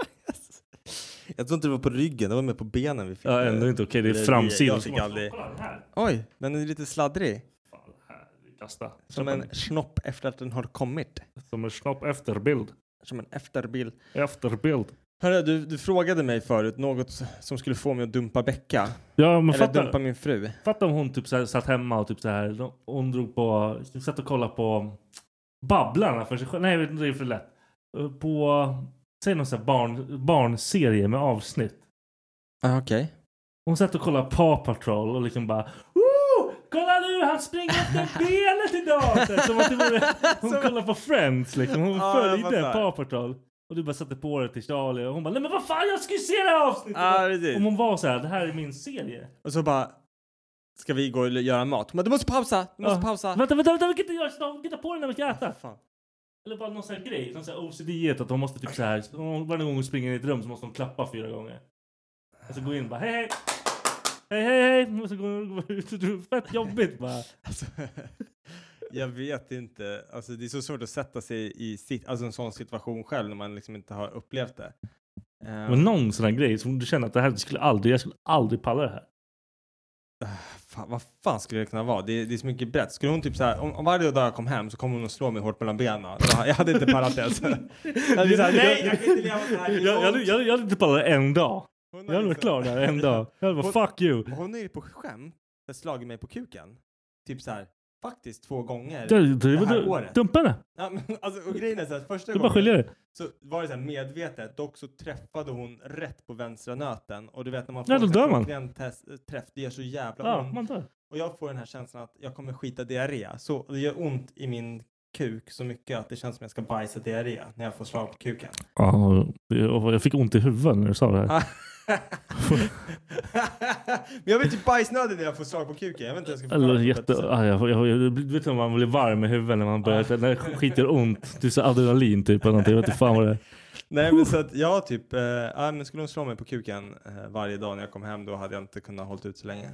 Speaker 3: *laughs* Jag tror inte det var på ryggen, det var mer på benen vi fick.
Speaker 5: Ja, ändå inte okej. Det är framsidan.
Speaker 3: Jag fick aldrig... Oj, den är lite sladdrig.
Speaker 5: Kasta.
Speaker 3: Som en snopp efter att den har kommit.
Speaker 5: Som en snopp efterbild.
Speaker 3: Som en efterbild.
Speaker 5: Efterbild.
Speaker 3: Hörru, du, du frågade mig förut något som skulle få mig att dumpa Becka.
Speaker 5: Ja, men
Speaker 3: Eller
Speaker 5: fatta,
Speaker 3: dumpa min fru.
Speaker 5: fatta om hon typ så här, satt hemma och typ så här. Hon drog på, typ satt och kollade på Babblarna för sig själv. Nej, jag vet inte, det är för lätt. Eh, På, säg någon så här barn, barnserie med avsnitt.
Speaker 3: Ah, Okej.
Speaker 5: Hon satt och kollade Paw Patrol och liksom bara Woo! Kolla nu, han
Speaker 3: *laughs*
Speaker 5: springer efter benet idag! Så här, Som att det vore, hon kollade på Friends liksom. Hon
Speaker 3: Ja, jag
Speaker 5: följde
Speaker 3: fattar.
Speaker 5: Paw Patrol. Och du bara satte på det till Charlie och hon bara Nej men vad fan jag ska ju se det här avsnittet!
Speaker 3: Ja, Ah, precis.
Speaker 5: Om hon var så här, det här är min serie.
Speaker 3: Och så bara... Ska vi gå och göra mat? Men du måste pausa! Du måste pausa!
Speaker 5: Vänta, vänta, vänta, vi kan inte göra snart. Vi kan ta på den när vi ska äta.
Speaker 3: Fan.
Speaker 5: Eller bara någon sån här grej, någon sån här OCD-diet att de måste typ så här. så hon- Varje gång hon springer in i ett rum så måste hon klappa fyra gånger. Och så gå in och bara hej hej! Hej hej hej! Och så går *laughs* hon ut och det är fett jobbigt bara.
Speaker 3: Alltså, *laughs* jag vet inte. Alltså, det är så svårt att sätta sig i sit- alltså, en sån situation själv när man liksom inte har upplevt det. Eh,
Speaker 5: Men någon sån här grej som du känner att det här skulle aldrig, jag skulle aldrig palla det här.
Speaker 3: fan, vad fan skulle det kunna vara? Det är, det är så mycket brett. Skulle hon typ så här, om, om varje dag jag kom hem så kommer hon och slå mig hårt mellan benen. Jag, jag hade inte pallat *laughs* det. Alltså. Jag hade så här, nej, jag kan inte leva så här.
Speaker 5: Jag, jag, jag, jag hade inte pallat det en dag.
Speaker 3: Hon har
Speaker 5: Jag hade varit
Speaker 3: liksom-
Speaker 5: klar där en dag. Jag hade bara fuck you.
Speaker 3: Hon är ju på skämt jag slagit mig på kuken. Typ så här, faktiskt två gånger.
Speaker 5: Du, du,
Speaker 3: Det här
Speaker 5: du,
Speaker 3: året.
Speaker 5: dumpa henne.
Speaker 3: Ja, men, alltså, och grejen är så här, första
Speaker 5: Du bara
Speaker 3: gången.
Speaker 5: skiljer dig.
Speaker 3: så var det så här medvetet, dock så träffade hon rätt på vänstra nöten och du vet när man får
Speaker 5: Ja, då
Speaker 3: en sån här
Speaker 5: dör man.
Speaker 3: klockren test- träff, det gör så jävla
Speaker 5: Ja,
Speaker 3: ont.
Speaker 5: man dör.
Speaker 3: Och jag får den här känslan att jag kommer skita diarré, så det gör ont i min kuk så mycket att det känns som jag ska bajsa diarré när jag får slag på kuken.
Speaker 5: Ja, och- och jag fick ont i huvudet när du sa det här.
Speaker 3: Men jag blir typ bajsnödig när jag får slag på kuken, jag vet inte hur jag ska
Speaker 5: Eller
Speaker 3: förklara det.
Speaker 5: jätte... Ah, jag, jag, jag, du vet när man blir varm i huvudet när man börjar... När det skiter ont. Du sa adrenalin typ eller någonting. Jag vet inte fan vad det är.
Speaker 3: Nej men så att jag typ, eh, ja, men skulle hon slå mig på kuken eh, varje dag när jag kom hem då hade jag inte kunnat hålla ut så länge.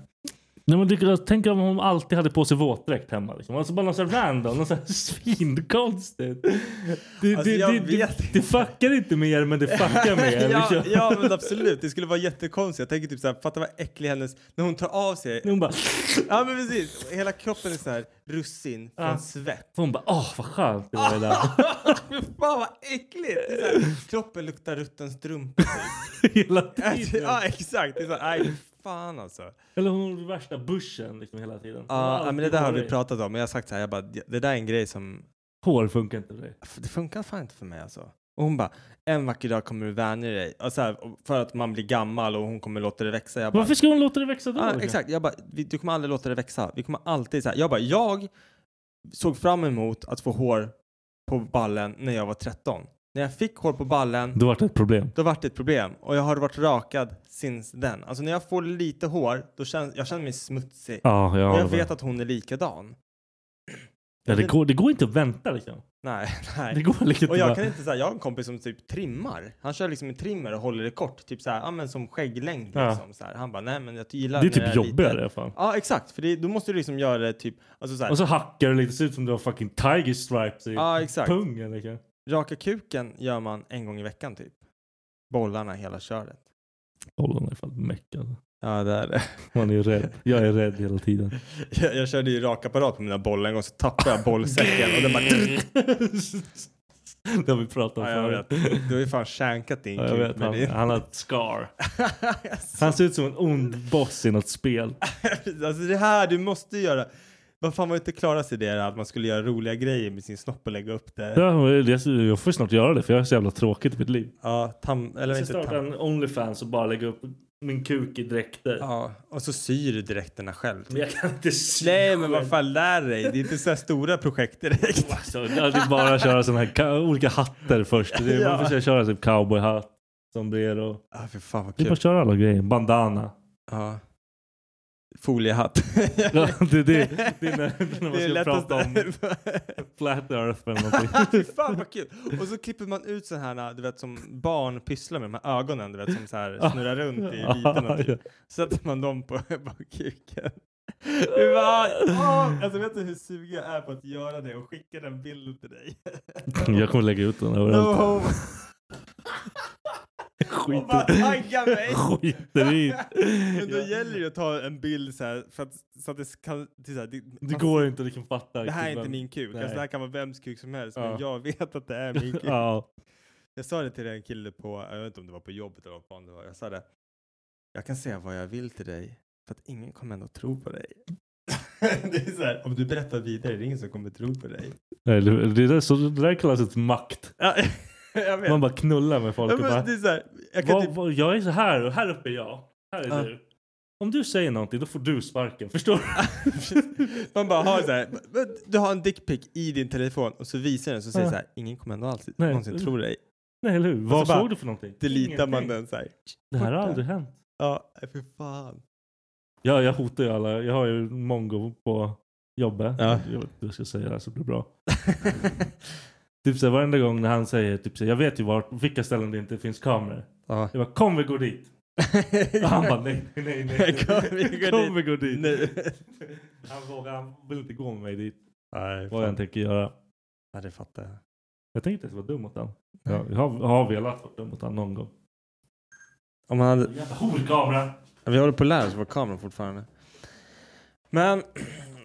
Speaker 5: Nej, men det, jag tänker om hon alltid hade på sig våtdräkt hemma. Liksom. Alltså bara någon sån här random. Någon sån här *laughs* svinkonstigt. Det,
Speaker 3: Alltså,
Speaker 5: det,
Speaker 3: jag
Speaker 5: det,
Speaker 3: vet
Speaker 5: det, det fuckar inte mer men det
Speaker 3: *laughs*
Speaker 5: fuckar mer.
Speaker 3: ja,
Speaker 5: liksom.
Speaker 3: ja men absolut, det skulle vara jättekonstigt. Jag tänker typ såhär, fatta vad äcklig hennes, när hon tar av sig.
Speaker 5: *laughs* Hon bara...
Speaker 3: Ja men precis, hela kroppen är så här russin från
Speaker 5: Ja.
Speaker 3: svett.
Speaker 5: Hon bara åh vad skönt det var det där.
Speaker 3: Fy fan vad äckligt! Det är så här, kroppen luktar rutten *laughs* strumpa.
Speaker 5: *laughs* Hela
Speaker 3: *laughs* Alltså,
Speaker 5: tiden.
Speaker 3: ja exakt, det är så här, nej fan alltså.
Speaker 5: Eller hon gjorde värsta bushen liksom hela tiden. Hon har
Speaker 3: Ja men det
Speaker 5: alltid
Speaker 3: där har vi
Speaker 5: varit-
Speaker 3: pratat om, men jag har sagt så här, jag bara, det där är en grej som,
Speaker 5: Hår funkar inte för dig.
Speaker 3: Alltså, det funkar fan inte för mig alltså. Och hon bara, en vacker dag kommer du vänja dig. Och så här, för att man blir gammal och hon kommer låta det växa. Jag bara,
Speaker 5: Varför ska hon låta det växa då?
Speaker 3: Ja,
Speaker 5: liksom?
Speaker 3: exakt. Jag bara, vi, du kommer aldrig låta det växa. Vi kommer alltid så här. Jag bara, jag såg fram emot att få hår på ballen när jag var 13. När jag fick hår på ballen,
Speaker 5: Då vart det ett problem.
Speaker 3: då vart det ett problem. Och jag har varit rakad since then. Alltså när jag får lite hår, då känns, jag känner mig smutsig.
Speaker 5: Ja,
Speaker 3: och
Speaker 5: ja,
Speaker 3: jag vet att hon är likadan.
Speaker 5: ja, det, går, det går inte att vänta liksom.
Speaker 3: Nej, *laughs*
Speaker 5: Det
Speaker 3: nej.
Speaker 5: går liksom
Speaker 3: Och
Speaker 5: inte
Speaker 3: jag
Speaker 5: bara-
Speaker 3: kan inte säga, jag har en kompis som typ trimmar. Han kör liksom en trimmer och håller det kort. Typ så här, ja men som skägglängd
Speaker 5: Ja.
Speaker 3: liksom. Så här. Han bara, nej men jag gillar
Speaker 5: Det är
Speaker 3: när
Speaker 5: typ
Speaker 3: lite-
Speaker 5: jobbigare fan.
Speaker 3: Ja exakt, för det, då måste du liksom göra det typ, alltså så här,
Speaker 5: Och så hackar det lite, ser ut som du har fucking tiger stripes i
Speaker 3: Ja, exakt.
Speaker 5: pungen. Liksom.
Speaker 3: Raka kuken gör man en gång i veckan typ. Bollarna hela köret.
Speaker 5: Kolla är fan meckad.
Speaker 3: Ja, det är det.
Speaker 5: Man är ju rädd. Jag är rädd hela tiden.
Speaker 3: *laughs* Jag, jag körde ju rakapparat på mina bollar en gång så tappade jag bollsäcken och den bara...
Speaker 5: Mm. det har vi pratat
Speaker 3: *laughs*
Speaker 5: om
Speaker 3: Ja, jag
Speaker 5: förut.
Speaker 3: vet. Du har ju fan shankat din
Speaker 5: Ja, jag
Speaker 3: kuk.
Speaker 5: vet. Han,
Speaker 3: det...
Speaker 5: han har ett scar. *laughs* Han ser ut som en ond boss i något spel.
Speaker 3: *laughs* alltså det här, du måste göra... Vad fan var inte Klaras idé där, att man skulle göra roliga grejer med sin snopp och lägga upp det?
Speaker 5: Ja, men det- Jag får snart göra det för jag är så jävla tråkigt i mitt liv.
Speaker 3: Ja, tam... Eller
Speaker 5: Jag ska
Speaker 3: inte
Speaker 5: starta
Speaker 3: tam...
Speaker 5: en Onlyfans och bara lägga upp min kuk i dräkter.
Speaker 3: Ja, och så syr du dräkterna själv.
Speaker 5: Men jag kan inte sy
Speaker 3: Nej, men
Speaker 5: själv.
Speaker 3: vad fan, lär dig. Det är inte så här stora projekt direkt.
Speaker 5: *laughs* Så, ja, Alltså, det är bara att köra såna här ka- olika hattar först. Det är,
Speaker 3: Ja.
Speaker 5: Man försöker köra typ cowboyhatt, sombrero.
Speaker 3: Ja, för fan vad
Speaker 5: Det är bara
Speaker 3: kul.
Speaker 5: att köra alla grejer. Bandana.
Speaker 3: Ja. Foliehatt.
Speaker 5: Ja, *laughs* det, det, det är när, när man
Speaker 3: Det är
Speaker 5: ska prata om flat earth eller någonting.
Speaker 3: *laughs* Fy fan vad kul! Och så klipper man ut så här, du vet som barn pysslar med, de här ögonen, du vet som så här snurrar
Speaker 5: *laughs*
Speaker 3: runt i vitorna typ. Sätter man dem på, *laughs* på kuken. Du bara, åh! Alltså vet du hur sugen jag är på att göra det och skicka den bilden till dig?
Speaker 5: Jag kommer lägga ut den överallt.
Speaker 3: No. Och bara
Speaker 5: skiter,
Speaker 3: tagga
Speaker 5: *laughs*
Speaker 3: mig.
Speaker 5: skiter i.
Speaker 3: Men då
Speaker 5: Ja.
Speaker 3: gäller det att ta en bild så här, för att, så att det kan... Till så här, det,
Speaker 5: Det går inte, du kan fatta.
Speaker 3: det här är inte
Speaker 5: kulan.
Speaker 3: min kuk.
Speaker 5: Nej.
Speaker 3: Alltså, det här kan vara vems kuk som helst.
Speaker 5: Ja.
Speaker 3: Men jag vet att det är min kuk.
Speaker 5: *laughs* Ja.
Speaker 3: Jag sa det till en kille på, jag vet inte om det var på jobbet eller vad fan det var. Jag sa det. Jag kan säga vad jag vill till dig för att ingen kommer ändå tro på dig. *laughs* det är så här, om du berättar vidare, det är ingen som kommer tro på dig.
Speaker 5: Nej, Det det där, så, det där kallas ett makt.
Speaker 3: Ja, *laughs* jag vet.
Speaker 5: Man bara knullar med
Speaker 3: ja,
Speaker 5: folk.
Speaker 3: men
Speaker 5: Och bara,
Speaker 3: det är så här, jag kan
Speaker 5: vad,
Speaker 3: typ,
Speaker 5: vad, jag är så här och här uppe är jag. Här är
Speaker 3: Ja.
Speaker 5: du. Om du säger någonting då får du sparken. Förstår du? *laughs*
Speaker 3: *laughs* man bara har så här, men du har en dickpic i din telefon och så visar den så säger
Speaker 5: Ja.
Speaker 3: så här, ingen kommer ändå alltid
Speaker 5: Nej.
Speaker 3: någonsin tro dig.
Speaker 5: Nej, eller hur? Vad
Speaker 3: Alltså, bara-
Speaker 5: såg du för någonting?
Speaker 3: Delitar man
Speaker 5: Ingenting.
Speaker 3: den så här.
Speaker 5: Det här har
Speaker 3: borta.
Speaker 5: aldrig hänt.
Speaker 3: Ja, för fan.
Speaker 5: Ja, jag hotar ju alla. Jag har ju mongo på jobbet.
Speaker 3: Ja.
Speaker 5: Jag vet inte hur jag ska säga det här så det blir bra. *laughs* Typ så här, varenda gång när han säger typ så här, jag vet ju vart, vilka ställen det inte finns kameror.
Speaker 3: *laughs* ja.
Speaker 5: Jag bara, kom vi går dit.
Speaker 3: *laughs*
Speaker 5: Och han bara, nej, nej, nej. nej.
Speaker 3: Kom, vi går
Speaker 5: Kom
Speaker 3: dit
Speaker 5: vi går dit.
Speaker 3: nu.
Speaker 5: *laughs* Han vågar, han vill inte gå med mig dit.
Speaker 3: Nej,
Speaker 5: Vad jag än
Speaker 3: fan.
Speaker 5: tänker göra.
Speaker 3: Ja, det fattar jag.
Speaker 5: Jag tänker inte ens vara dum mot honom. Jag, jag, har, jag har velat vara dum mot honom någon gång.
Speaker 3: Om man hade,
Speaker 5: Jävla horkamera!
Speaker 3: Vi håller på att lära oss vår kamera fortfarande. Men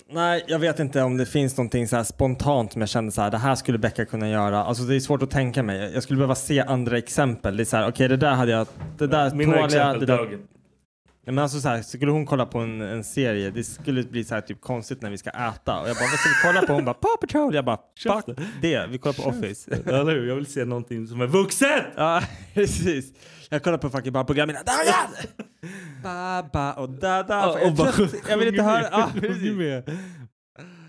Speaker 3: nej, jag vet inte om det finns någonting så här spontant som jag kände så här, det här skulle Becka kunna göra. Alltså det är svårt att tänka mig. Jag skulle behöva se andra exempel. Det är så här, okej det där hade jag, det där tål
Speaker 5: Mina
Speaker 3: jag. Det
Speaker 5: exempel
Speaker 3: där.
Speaker 5: dög inte.
Speaker 3: Nej, Men alltså så här, skulle hon kolla på en, en serie, det skulle bli så här typ konstigt när vi ska äta. Och jag bara, vad ska vi kolla på? Hon bara, Paw Patrol! Jag bara, fuck
Speaker 5: Käften.
Speaker 3: det, vi kollar på Office.
Speaker 5: Ja, Eller hur? Jag vill se någonting som är vuxet!
Speaker 3: *laughs* Ja, precis. Jag kollar på fucking bara programmen. Dagan! Ba, ba och da, da.
Speaker 5: Ja,
Speaker 3: jag,
Speaker 5: och
Speaker 3: är
Speaker 5: bara
Speaker 3: trött. jag vill inte
Speaker 5: sjunger
Speaker 3: höra.
Speaker 5: med.
Speaker 3: Ja,
Speaker 5: Sjunger
Speaker 3: precis.
Speaker 5: med.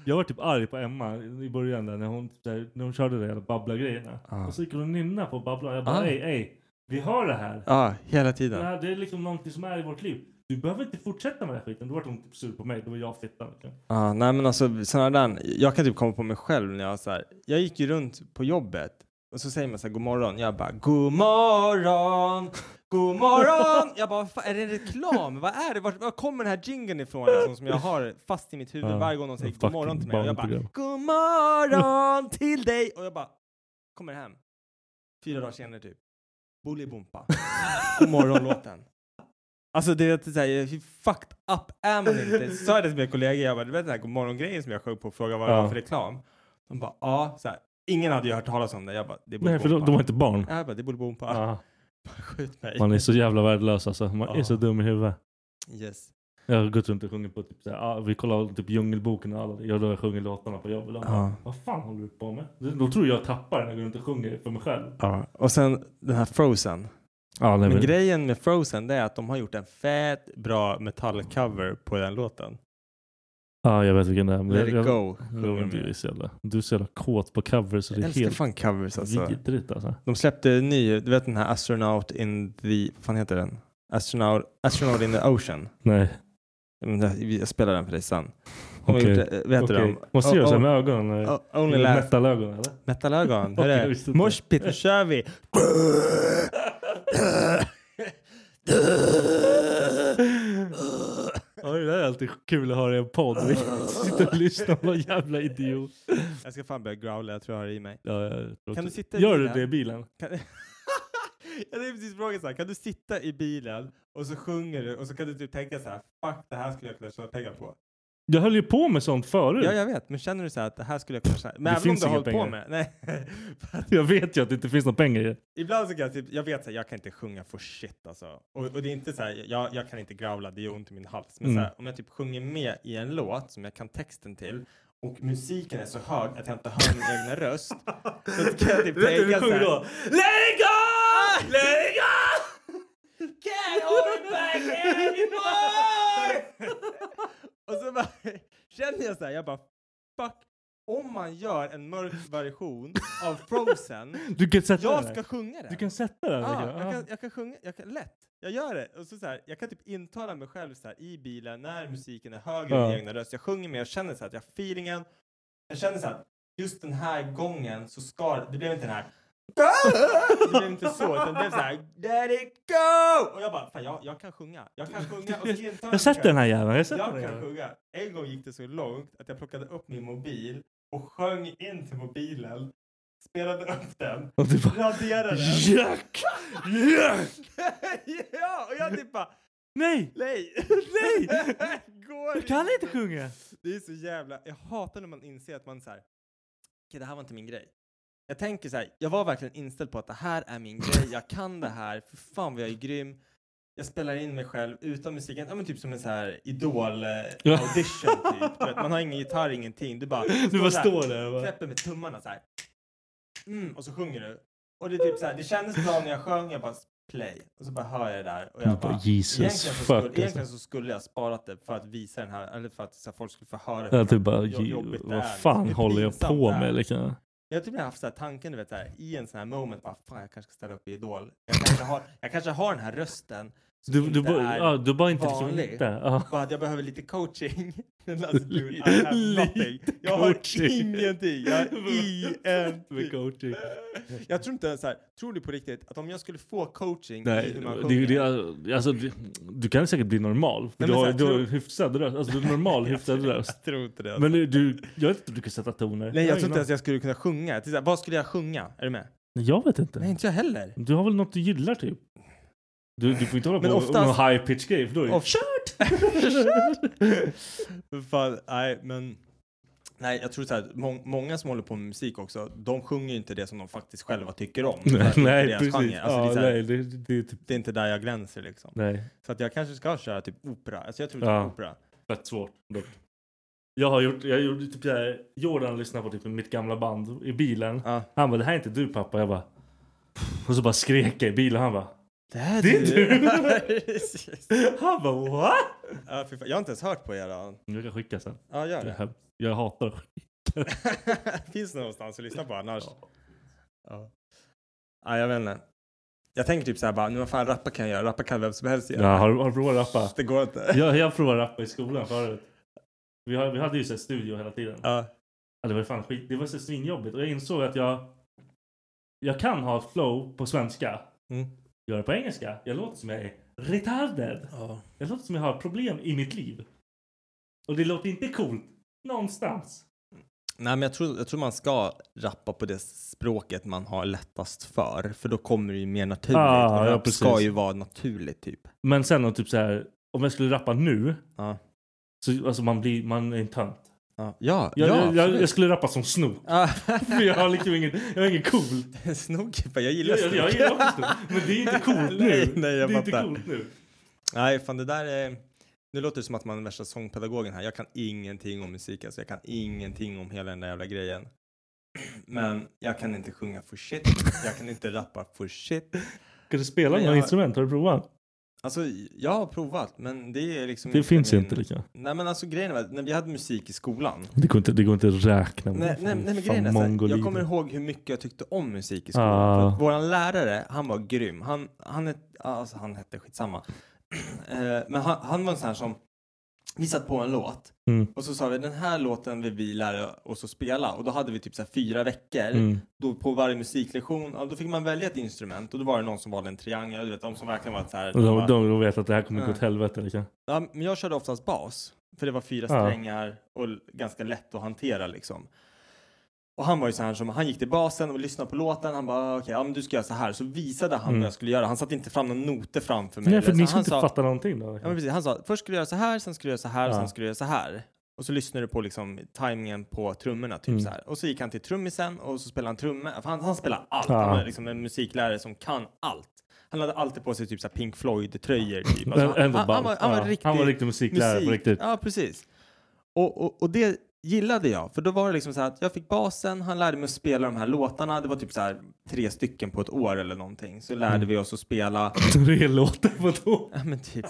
Speaker 5: Jag var typ arg på Emma i början där när hon, där, när hon körde det där babbla-grejerna.
Speaker 3: Ja.
Speaker 5: Och så gick hon och nynnade på babbla. Jag
Speaker 3: Ah.
Speaker 5: bara, ej, ej. Vi har det här.
Speaker 3: Ja, hela
Speaker 5: Det
Speaker 3: tiden.
Speaker 5: här. Det är liksom någonting som är i vårt liv. Du behöver inte fortsätta med den här skiten. Då vart hon typ sur på mig. Då var jag fittan. liksom.
Speaker 3: Ja, nej men alltså sådana där. Jag kan typ komma på mig själv när jag så här. Jag gick ju runt på jobbet och så säger man så här god morgon. Jag bara god morgon. God morgon! Jag bara, "Vad fan, är det en reklam? Vad är det? Var, var kommer den här jingeln ifrån liksom, som jag har fast i mitt huvud
Speaker 5: Ja,
Speaker 3: typ varje gång någon säger
Speaker 5: en
Speaker 3: god morgon
Speaker 5: fucking
Speaker 3: till mig? Och jag bara,
Speaker 5: barnprogram.
Speaker 3: god morgon till dig! Och jag bara, kommer hem. Fyra dagar senare typ. Bolibompa. God morgon-låten. Alltså det är att säga, hur fucked up är man inte? Så sa jag det till mina kollegor, jag bara, du vet den här god morgon-grejen som jag sjöng på och frågade vad det
Speaker 5: Ja.
Speaker 3: var för reklam? De bara, ja. Så här, ingen hade ju hört talas om det. Jag bara, det är
Speaker 5: Nej, för de,
Speaker 3: Bolibompa.
Speaker 5: de var inte barn.
Speaker 3: Ja, Jag bara, det är Bolibompa.
Speaker 5: Ah.
Speaker 3: Skjut mig.
Speaker 5: Man är så jävla värdelös alltså. Man är
Speaker 3: Ja.
Speaker 5: så dum i huvudet.
Speaker 3: Yes.
Speaker 5: Jag har gått runt och sjungit på typ såhär, ah, vi kollar typ Djungelboken och alla det. Jag då jag sjunger låtarna på jobbet. Och de bara,
Speaker 3: Ja.
Speaker 5: Vad fan håller du på med? Då tror jag jag tappar när jag går runt och sjunger för mig själv.
Speaker 3: Ja. Och sen den här Frozen.
Speaker 5: Ja, Ah. nej,
Speaker 3: Men grejen med Frozen det är att de har gjort en fett bra metallcover på den låten.
Speaker 5: Ja, jag vet vilken det är. men
Speaker 3: Let
Speaker 5: jag,
Speaker 3: it go.
Speaker 5: Jag,
Speaker 3: sjunger
Speaker 5: jag,
Speaker 3: de
Speaker 5: du, är
Speaker 3: ju.
Speaker 5: så jävla, du är så jävla kåt på covers så det
Speaker 3: Jag
Speaker 5: är
Speaker 3: älskar
Speaker 5: helt
Speaker 3: fan covers alltså.
Speaker 5: vidrigt alltså.
Speaker 3: De släppte en ny, du vet den här Astronaut in the, vad fan heter den? Astronaut, Astronaut in the Ocean.
Speaker 5: Nej,
Speaker 3: Men det- Jag spelar den för dig sen. De har
Speaker 5: Okej.
Speaker 3: gjort, eh, vad heter
Speaker 5: okej.
Speaker 3: de?
Speaker 5: Måste jag göra
Speaker 3: Oh,
Speaker 5: såhär
Speaker 3: oh,
Speaker 5: med ögonen? eller?
Speaker 3: oh, Only
Speaker 5: Eller
Speaker 3: laugh.
Speaker 5: Metalögon eller?
Speaker 3: Metalögon.
Speaker 5: Okej,
Speaker 3: Hörru,
Speaker 5: jag visste inte.
Speaker 3: moshpit, nu kör vi!
Speaker 5: Ja, det där är alltid kul att höra i en podd. Vi sitter och lyssnar på en jävla idiot.
Speaker 3: Jag ska fan börja growla, jag tror jag har det i mig.
Speaker 5: Ja, jag tror också-
Speaker 3: du sitta i
Speaker 5: Gör du
Speaker 3: bilen?
Speaker 5: det i bilen?
Speaker 3: Kan... *laughs* jag tänkte precis fråga så här, kan du sitta i bilen och så sjunger du och så kan du typ tänka så här, fuck det här skulle jag kunna tjäna pengar
Speaker 5: Mm.
Speaker 3: på.
Speaker 5: Jag höll ju på med sånt förut.
Speaker 3: Ja, jag vet, men känner du så här att det här skulle jag kunna tjäna, men
Speaker 5: Det
Speaker 3: även om
Speaker 5: finns
Speaker 3: du har
Speaker 5: inga
Speaker 3: hållit på
Speaker 5: pengar.
Speaker 3: med, *laughs* nej. För att
Speaker 5: Jag vet ju att det inte finns några pengar i det.
Speaker 3: Ibland så kan jag typ, jag vet så här, jag kan inte sjunga for shit alltså. Och, och det är inte så här, jag, jag kan inte growla, det gör ont i min hals. Men
Speaker 5: Mm.
Speaker 3: så här, om jag typ sjunger med i en låt som jag kan texten till och musiken är så hög att jag inte hör min egna röst. Så kan jag typ
Speaker 5: Vet *laughs* du hur
Speaker 3: tänka
Speaker 5: du
Speaker 3: så
Speaker 5: sjunger
Speaker 3: här.
Speaker 5: då? Ah! Let it go! Let it go!
Speaker 3: Can't hold it back anymore! *laughs* och så bara, *laughs* känner jag så här, jag bara fuck. Om man gör en mörk version av Frozen,
Speaker 5: Du kan sätta
Speaker 3: jag
Speaker 5: den
Speaker 3: ska
Speaker 5: där.
Speaker 3: sjunga den.
Speaker 5: Du kan sätta liksom. den.
Speaker 3: Ja,
Speaker 5: tycker
Speaker 3: jag,
Speaker 5: Ja.
Speaker 3: kan, jag kan sjunga, jag kan, lätt. Jag gör det. Och så så här, jag kan typ intala mig själv så här, i bilen när musiken är högre än
Speaker 5: Ja.
Speaker 3: min egna röst. Jag sjunger med, jag känner så här, att jag har feelingen. Jag känner så här, just den här gången så ska det, det blev inte den här det blev inte så, utan det blev så här Let it go! Och jag bara, fan jag, jag kan sjunga. Jag kan sjunga och så intalar mig
Speaker 5: Jag sätter den
Speaker 3: själv.
Speaker 5: här jäveln. Jag sätter
Speaker 3: Jag
Speaker 5: den här.
Speaker 3: kan sjunga. En gång gick det så långt att jag plockade upp min mobil och sjöng in till mobilen spelade upp den,
Speaker 5: Och du bara...
Speaker 3: raderade den.
Speaker 5: Jack! Jack!
Speaker 3: *laughs* ja, och jag typ bara,
Speaker 5: Nej!
Speaker 3: nej!
Speaker 5: Nej!
Speaker 3: *laughs* Går
Speaker 5: Jag kan inte sjunga!
Speaker 3: Det är så jävla... Jag hatar när man inser att man så här... Okej, det här var inte min grej. Jag tänker så här, jag var verkligen inställd på att det här är min grej, jag kan det här, för fan vad jag är grym. Jag spelar in mig själv utan musiken, ja men typ som en så här
Speaker 5: Ja.
Speaker 3: idol-audition typ. Du vet, man har ingen gitarr, ingenting. Du bara,
Speaker 5: Du bara
Speaker 3: så här,
Speaker 5: står där och bara...
Speaker 3: knäpper med tummarna så här. Mm, och så sjunger du. Och det är typ så här, det kändes bra när jag sjöng, jag bara play. Och så bara hör jag det där och jag
Speaker 5: bara,
Speaker 3: bara
Speaker 5: Jesus
Speaker 3: egentligen så,
Speaker 5: fuck,
Speaker 3: skulle,
Speaker 5: alltså.
Speaker 3: egentligen så skulle jag sparat det för att visa den här, eller för att så här, folk skulle få höra
Speaker 5: Ja,
Speaker 3: hur
Speaker 5: typ bara,
Speaker 3: jo-
Speaker 5: "Ge-
Speaker 3: jobbigt det är,
Speaker 5: vad
Speaker 3: liksom.
Speaker 5: fan
Speaker 3: Det är
Speaker 5: håller jag
Speaker 3: pinsamt
Speaker 5: på
Speaker 3: det här.
Speaker 5: med? Liksom.
Speaker 3: Jag har typ haft så här tanken du vet så här, i en sån här moment, bara, fan jag kanske ska ställa upp i Idol. Jag kanske har, *laughs* jag kanske har den här rösten som
Speaker 5: Du, du,
Speaker 3: inte
Speaker 5: bara-
Speaker 3: är
Speaker 5: ja, du bara inte liksom...
Speaker 3: vanlig.
Speaker 5: hittar. Ja.
Speaker 3: Bara att jag behöver lite coaching. *laughs* Men alltså, dude, I have
Speaker 5: Lite
Speaker 3: nothing. Jag har
Speaker 5: coaching.
Speaker 3: ingenting.
Speaker 5: *laughs*
Speaker 3: Jag har
Speaker 5: Med
Speaker 3: ingenting.
Speaker 5: coaching.
Speaker 3: Jag tror inte ens så här, tror du på riktigt att om jag skulle få coaching i
Speaker 5: Nej,
Speaker 3: hur man
Speaker 5: det,
Speaker 3: sjunger.
Speaker 5: det, alltså, det, du kan säkert bli normal. För
Speaker 3: men
Speaker 5: du
Speaker 3: så
Speaker 5: har,
Speaker 3: här,
Speaker 5: du har
Speaker 3: tror-
Speaker 5: hyfsad röst. Alltså, du
Speaker 3: *laughs*
Speaker 5: är normal *laughs* hyfsad röst.
Speaker 3: jag tror inte det.
Speaker 5: Men du- du, jag vet inte om du kan sätta toner.
Speaker 3: Nej, jag tror
Speaker 5: ingen
Speaker 3: inte ens jag skulle kunna sjunga. Till så här, Vad skulle jag sjunga? Är du med?
Speaker 5: aning. jag vet inte.
Speaker 3: Nej, inte jag heller.
Speaker 5: Du har väl något du gillar typ? Du, du får inte hålla
Speaker 3: Men
Speaker 5: på
Speaker 3: oftast-
Speaker 5: med någon high pitch grej för då är det...
Speaker 3: Och *laughs* Kört! Fan, nej men. Nej, jag tror så här, må- många som håller på med musik också, de sjunger ju inte det som de faktiskt själva tycker
Speaker 5: *laughs*
Speaker 3: om. För att det är inte
Speaker 5: nej
Speaker 3: deras
Speaker 5: precis.
Speaker 3: genre. Alltså, det, är
Speaker 5: ja,
Speaker 3: så här,
Speaker 5: nej, det, det, det är typ...
Speaker 3: det är inte där jag glänser liksom.
Speaker 5: Nej.
Speaker 3: Så att jag kanske ska köra typ opera. Alltså jag tror typ
Speaker 5: Ja.
Speaker 3: opera.
Speaker 5: Fett svårt dock. Jag har gjort, jag gjorde typ såhär, Jordan lyssnade på typ mitt gamla band i bilen.
Speaker 3: Ja.
Speaker 5: Han bara, det här är inte du pappa. Jag bara... Och så bara skrek jag i bilen. Han bara... *laughs*
Speaker 3: Det här
Speaker 5: Det är
Speaker 3: du! Precis.
Speaker 5: Han bara what?
Speaker 3: *laughs* ja, fy fan. jag har inte ens hört på era.
Speaker 5: Jag kan skicka sen.
Speaker 3: Ja, gör
Speaker 5: Det är
Speaker 3: det.
Speaker 5: hemskt. Jag hatar det.
Speaker 3: *laughs* Finns det någonstans att lyssna på annars? Ja. ja, jag vet inte. Jag tänker typ så här bara, nu vad fan rappa kan jag göra? Rappa kan vem som helst göra.
Speaker 5: Ja, har, har du provat att rappa?
Speaker 3: Det går inte.
Speaker 5: Jag, jag provade att rappa i skolan förut. Vi, har, vi hade ju såhär studio hela tiden.
Speaker 3: Ja.
Speaker 5: Ja, det var ju fan skit. Det var så svinjobbigt. Och jag insåg att jag... Jag kan ha ett flow på svenska.
Speaker 3: Mm.
Speaker 5: Gör det på engelska. Jag låter som jag är retarded.
Speaker 3: Ja.
Speaker 5: Jag låter som jag har problem i mitt liv. Och det låter inte coolt. Någonstans.
Speaker 3: Nej, men jag tror, jag tror man ska rappa på det språket man har lättast för, för då kommer det ju mer naturligt.
Speaker 5: Ah,
Speaker 3: Och
Speaker 5: ja,
Speaker 3: rap
Speaker 5: precis.
Speaker 3: ska ju vara naturligt typ.
Speaker 5: Men sen om typ så här... Om jag skulle rappa nu.
Speaker 3: Ja.
Speaker 5: Så alltså man blir... Man är en tönt.
Speaker 3: Ja, ja.
Speaker 5: Jag, jag, jag,
Speaker 3: absolut.
Speaker 5: jag skulle rappa som Snook.
Speaker 3: Ah,
Speaker 5: För *laughs*
Speaker 3: *laughs*
Speaker 5: jag har liksom ingen... Jag är ingen cool.
Speaker 3: Snooki, fan, jag gillar
Speaker 5: Jag, jag, jag
Speaker 3: Snooki.
Speaker 5: gillar också Snook. Men det är inte coolt nu.
Speaker 3: Nej, nej, jag
Speaker 5: det är inte
Speaker 3: fattar.
Speaker 5: coolt nu.
Speaker 3: Nej, fan det där är... Nu låter det som att man är värsta sångpedagogen här. Jag kan ingenting om musik, alltså. Jag kan ingenting om hela den där jävla grejen. *clears throat* Men jag kan inte sjunga for shit. Jag kan inte rappa for shit.
Speaker 5: Kan du spela
Speaker 3: Men
Speaker 5: några
Speaker 3: jag-
Speaker 5: instrument? Har du provat?
Speaker 3: Alltså, jag har provat, men det är liksom...
Speaker 5: Det finns ju
Speaker 3: min-
Speaker 5: inte lika.
Speaker 3: Nej, men alltså grejen var att när vi hade musik i skolan.
Speaker 5: Det går inte, det går inte att räkna med.
Speaker 3: Nej, nej, nej men grejen är så här, jag kommer ihåg hur mycket jag tyckte om musik i skolan.
Speaker 5: Ah.
Speaker 3: För att våran lärare, han var grym. Han, han, het, alltså, han hette skitsamma. *clears throat* Eh, men han, han var en sån här som, vi satt på en låt
Speaker 5: Mm.
Speaker 3: och så sa vi den här låten vill vi lära oss att spela. Och då hade vi typ så här fyra veckor.
Speaker 5: Mm.
Speaker 3: Då på varje musiklektion, ja, då fick man välja ett instrument och då var det någon som valde en triangel. Du vet, de som verkligen var så här.
Speaker 5: Och
Speaker 3: de
Speaker 5: De,
Speaker 3: bara-
Speaker 5: de, de vet att det här kommer gå
Speaker 3: Nej.
Speaker 5: åt helvete. Liksom.
Speaker 3: Ja, men jag körde oftast bas. För det var fyra
Speaker 5: Ja.
Speaker 3: strängar och l- ganska lätt att hantera liksom. Och han var ju så här som, han gick till basen och lyssnade på låten. Han bara, okej, ja, men du ska göra så här. Så visade han
Speaker 5: Mm.
Speaker 3: vad jag skulle göra. Han satte inte fram några noter framför mig.
Speaker 5: Nej, för
Speaker 3: eller så.
Speaker 5: ni ska
Speaker 3: alltså, han sa,
Speaker 5: inte fatta någonting. Då, liksom.
Speaker 3: Ja, men precis. Han sa, först skulle du göra så här, sen skulle du göra så här, och
Speaker 5: Ja.
Speaker 3: sen skulle du göra så här. Och så lyssnade du på liksom timingen på trummorna, typ
Speaker 5: Mm.
Speaker 3: så här. Och så gick han till trummisen och så spelade han trummor. För han, han spelar allt.
Speaker 5: Ja.
Speaker 3: Han är liksom en musiklärare som kan allt. Han hade alltid på sig typ så här Pink Floyd-tröjor.
Speaker 5: *laughs*
Speaker 3: Typ.
Speaker 5: Ä-
Speaker 3: Alltså, han,
Speaker 5: ändå
Speaker 3: han, han, var, han var
Speaker 5: ballt. Ja,
Speaker 3: riktig
Speaker 5: han var riktig musiklärare på riktigt.
Speaker 3: Ja, precis. Och, och, och det gillade jag. För då var det liksom så här att jag fick basen, han lärde mig att spela de här låtarna. Det var typ så här tre stycken på ett år eller någonting. Så lärde
Speaker 5: Mm.
Speaker 3: vi oss att spela.
Speaker 5: *laughs* Tre låtar på då.
Speaker 3: Ja, men typ.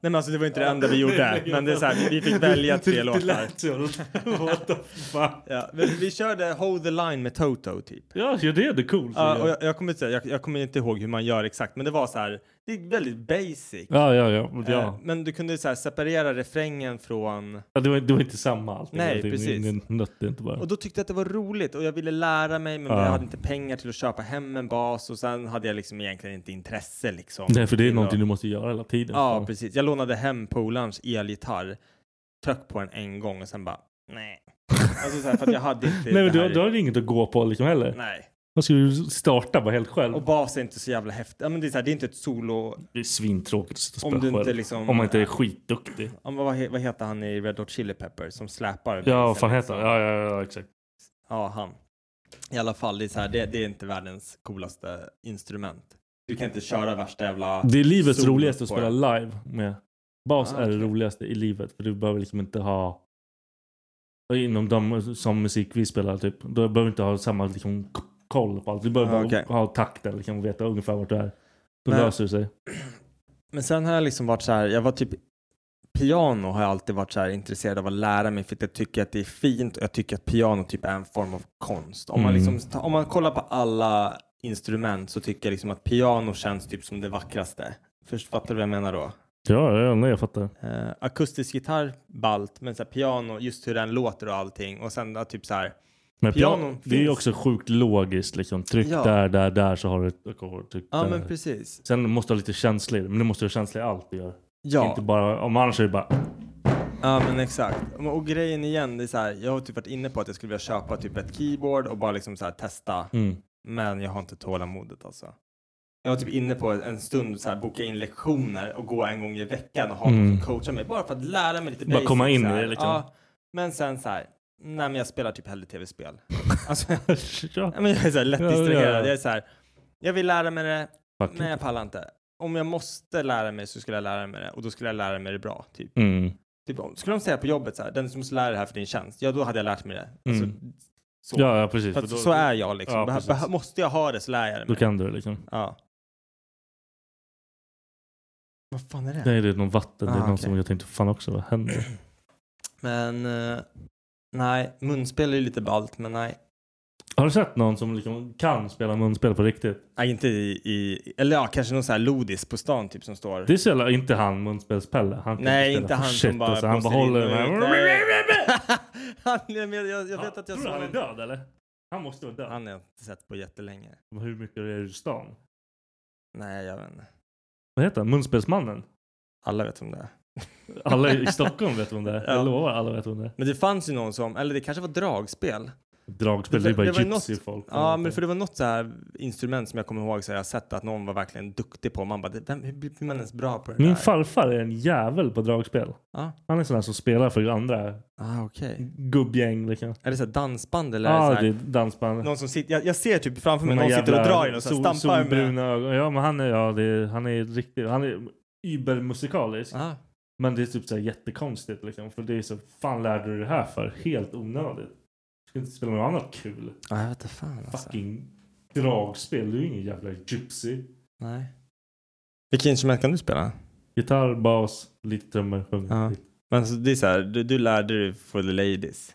Speaker 3: Nej men alltså det var inte det enda vi gjorde. Men det är så här, vi fick välja tre
Speaker 5: Det
Speaker 3: låtar.
Speaker 5: lät så. *laughs* What the fuck?
Speaker 3: Ja, men vi körde Hold the line med Toto typ.
Speaker 5: Ja, ja, det är det coolt.
Speaker 3: Ja, och jag, jag, kommer inte, säga- jag, jag kommer inte ihåg hur man gör exakt, men det var så här, det är väldigt basic.
Speaker 5: ja, ja. ja, men
Speaker 3: Eh,
Speaker 5: ja.
Speaker 3: Men du kunde så här separera refrängen från...
Speaker 5: ja det, var, det var inte samma allting.
Speaker 3: Nej,
Speaker 5: det, var
Speaker 3: precis.
Speaker 5: Ingen nöt, det är inte bara.
Speaker 3: Och då tyckte jag att det var roligt och jag ville lära mig, men
Speaker 5: Ja.
Speaker 3: jag hade inte pengar till att köpa hem en bas och sen hade jag liksom egentligen inte intresse liksom.
Speaker 5: Nej, för det är
Speaker 3: till att-
Speaker 5: någonting du måste göra hela tiden.
Speaker 3: Ja, precis. Jag lånade hem polarns elgitarr, tryck på den en gång och sen bara nej. Alltså så här, för att jag hade inte
Speaker 5: *laughs* Nej men
Speaker 3: det
Speaker 5: du,
Speaker 3: här
Speaker 5: du har ju inget att gå på liksom heller.
Speaker 3: Nej.
Speaker 5: Då ska du starta bara helt själv.
Speaker 3: Och bas är inte så jävla häftigt. Ja, men det, är så här, det är inte ett solo...
Speaker 5: Det är svintråkigt att sitta och
Speaker 3: Om
Speaker 5: spela
Speaker 3: du inte
Speaker 5: själv.
Speaker 3: liksom-
Speaker 5: Om man inte är skitduktig.
Speaker 3: Ja, men vad, he- vad heter han i Red Hot Chili Peppers som släpar? Liksom.
Speaker 5: Ja, vad fan heter han? Ja, ja, ja, exakt.
Speaker 3: Ja, han. I alla fall, det är, så här, det, det är inte världens coolaste instrument. Du kan inte köra värsta jävla...
Speaker 5: Det är livets
Speaker 3: solo
Speaker 5: roligaste att
Speaker 3: på det.
Speaker 5: spela live med. Bas
Speaker 3: Ah,
Speaker 5: är det
Speaker 3: okej.
Speaker 5: roligaste i livet. För du behöver liksom inte ha... Inom de som musik vi spelar typ. Då behöver du inte ha samma liksom, k- koll på allt. Du behöver
Speaker 3: Ah,
Speaker 5: bara
Speaker 3: okej.
Speaker 5: ha takten liksom, och veta ungefär vart du är. Då
Speaker 3: Men-
Speaker 5: löser det sig.
Speaker 3: Men sen har jag liksom varit så här, jag var typ Piano har jag alltid varit så här intresserad av att lära mig för att jag tycker att det är fint och jag tycker att piano typ är en form av konst. Om, man,
Speaker 5: Mm.
Speaker 3: liksom, ta- om man kollar på alla instrument så tycker jag liksom att piano känns typ som det vackraste. Först fattar du vad jag menar då?
Speaker 5: Ja, ja nej, jag fattar.
Speaker 3: Eh, akustisk gitarr, balt, men så här, piano, just hur den låter och allting. Och sen ja, typ så här,
Speaker 5: Men
Speaker 3: Piano
Speaker 5: piano, det är
Speaker 3: finns.
Speaker 5: ju också sjukt logiskt. Liksom. Tryck
Speaker 3: Ja.
Speaker 5: där, där, där så har du ett ackord. Tryck
Speaker 3: ja
Speaker 5: där.
Speaker 3: men precis.
Speaker 5: Sen måste du ha lite känsla i det. Men du måste ha känsla i allt du gör.
Speaker 3: Ja.
Speaker 5: Inte bara, om annars är det bara...
Speaker 3: Ja men exakt. Och, och grejen igen, det är så här, jag har typ varit inne på att jag skulle vilja köpa typ ett keyboard och bara liksom så här testa. *laughs*
Speaker 5: Mm.
Speaker 3: Men jag har inte tålamodet alltså. Jag var typ inne på en stund så här, boka in lektioner och gå en gång i veckan och ha någon
Speaker 5: Mm.
Speaker 3: som coachar mig. Bara för att lära mig lite
Speaker 5: Bara komma in
Speaker 3: så
Speaker 5: i
Speaker 3: här.
Speaker 5: det, liksom.
Speaker 3: Ja, men sen så här, nej men jag spelar typ hellre tv-spel. *laughs* alltså, jag,
Speaker 5: ja.
Speaker 3: men jag är så här lätt
Speaker 5: Ja, det gör
Speaker 3: distraherad.
Speaker 5: jag.
Speaker 3: Jag är så här, jag vill lära mig det,
Speaker 5: Fuck
Speaker 3: men
Speaker 5: it.
Speaker 3: jag pallar inte. Om jag måste lära mig så skulle jag lära mig det och då skulle jag lära mig det bra. Typ.
Speaker 5: Mm.
Speaker 3: Typ, om- skulle de säga på jobbet så här, den som måste lära dig det här för din tjänst, ja då hade jag lärt mig det. Alltså,
Speaker 5: Mm.
Speaker 3: så.
Speaker 5: Ja, ja, precis.
Speaker 3: för
Speaker 5: För
Speaker 3: att,
Speaker 5: då,
Speaker 3: så är jag liksom.
Speaker 5: Ja,
Speaker 3: Behö-
Speaker 5: precis.
Speaker 3: behö- måste jag ha det så lär jag mig
Speaker 5: då
Speaker 3: det.
Speaker 5: kan du det liksom.
Speaker 3: Ja. Vad fan är det?
Speaker 5: Nej, det är någon vatten. det är
Speaker 3: Ah,
Speaker 5: någon
Speaker 3: okej.
Speaker 5: som jag tänkte, fan också, vad händer?
Speaker 3: *clears throat* Men eh, nej, munspel är ju lite ballt, men nej.
Speaker 5: Har du sett någon som liksom kan spela munspel på riktigt?
Speaker 3: Nej, inte i, i eller ja, kanske någon sån här lodis på stan typ som står.
Speaker 5: Det är så jävla, inte han munspelspelle. Han kan
Speaker 3: nej,
Speaker 5: spela
Speaker 3: inte
Speaker 5: för
Speaker 3: han
Speaker 5: shit,
Speaker 3: som bara
Speaker 5: alltså, Han bara
Speaker 3: blåser in
Speaker 5: håller
Speaker 3: och
Speaker 5: den
Speaker 3: ut.
Speaker 5: här. *laughs*
Speaker 3: Nej. han, jag, men- jag, jag vet att jag
Speaker 5: Tror du han är
Speaker 3: såg...
Speaker 5: död eller? Han måste vara död.
Speaker 3: Han har jag inte sett på jättelänge.
Speaker 5: Hur mycket är det i stan?
Speaker 3: Nej, jag vet inte.
Speaker 5: Vad heter han? Munspelsmannen?
Speaker 3: Alla vet om det är. *laughs*
Speaker 5: Alla i Stockholm vet vem det är.
Speaker 3: Ja.
Speaker 5: Jag lovar, alla vet vem det är.
Speaker 3: Men det fanns ju någon som, eller det kanske var dragspel.
Speaker 5: Dragspel, det
Speaker 3: Det
Speaker 5: är
Speaker 3: var-
Speaker 5: bara
Speaker 3: det var ju
Speaker 5: gypsy-folk.
Speaker 3: Ja, men för det var något så här instrument som jag kommer ihåg så jag har sett att någon var verkligen duktig på. Man bara, "Det- vem, hur blir man ens bra på det
Speaker 5: Min
Speaker 3: där?
Speaker 5: farfar är en jävel på dragspel.
Speaker 3: Ja.
Speaker 5: Han är en sån där som spelar för andra
Speaker 3: Ah, okej.
Speaker 5: gubbgäng. Liksom.
Speaker 3: Är det så här dansband eller är
Speaker 5: Mm. Ja,
Speaker 3: det
Speaker 5: ah,
Speaker 3: så
Speaker 5: det är
Speaker 3: här,
Speaker 5: dansband.
Speaker 3: någon som sitter, jag, jag ser typ framför mig
Speaker 5: De
Speaker 3: någon
Speaker 5: här
Speaker 3: sitter och
Speaker 5: jävla
Speaker 3: drar i den och så
Speaker 5: sol-
Speaker 3: stampar med.
Speaker 5: solbruna ögon. Ja, men han är, ja, det är, han är riktigt, han är übermusikalisk.
Speaker 3: Ah,
Speaker 5: Men det är typ så här jättekonstigt liksom. För det är så, fan lärde du det här för? Helt onödigt. Du ska inte spela något annat kul.
Speaker 3: ah, jag vet inte fan alltså.
Speaker 5: Fucking dragspel, du är ingen jävla gypsy.
Speaker 3: Nej. Vilket instrument kan du spela?
Speaker 5: Gitarr, bas, lite trummor, sjunger.
Speaker 3: Ja. Men alltså, det är så här, du, du lärde dig for the ladies.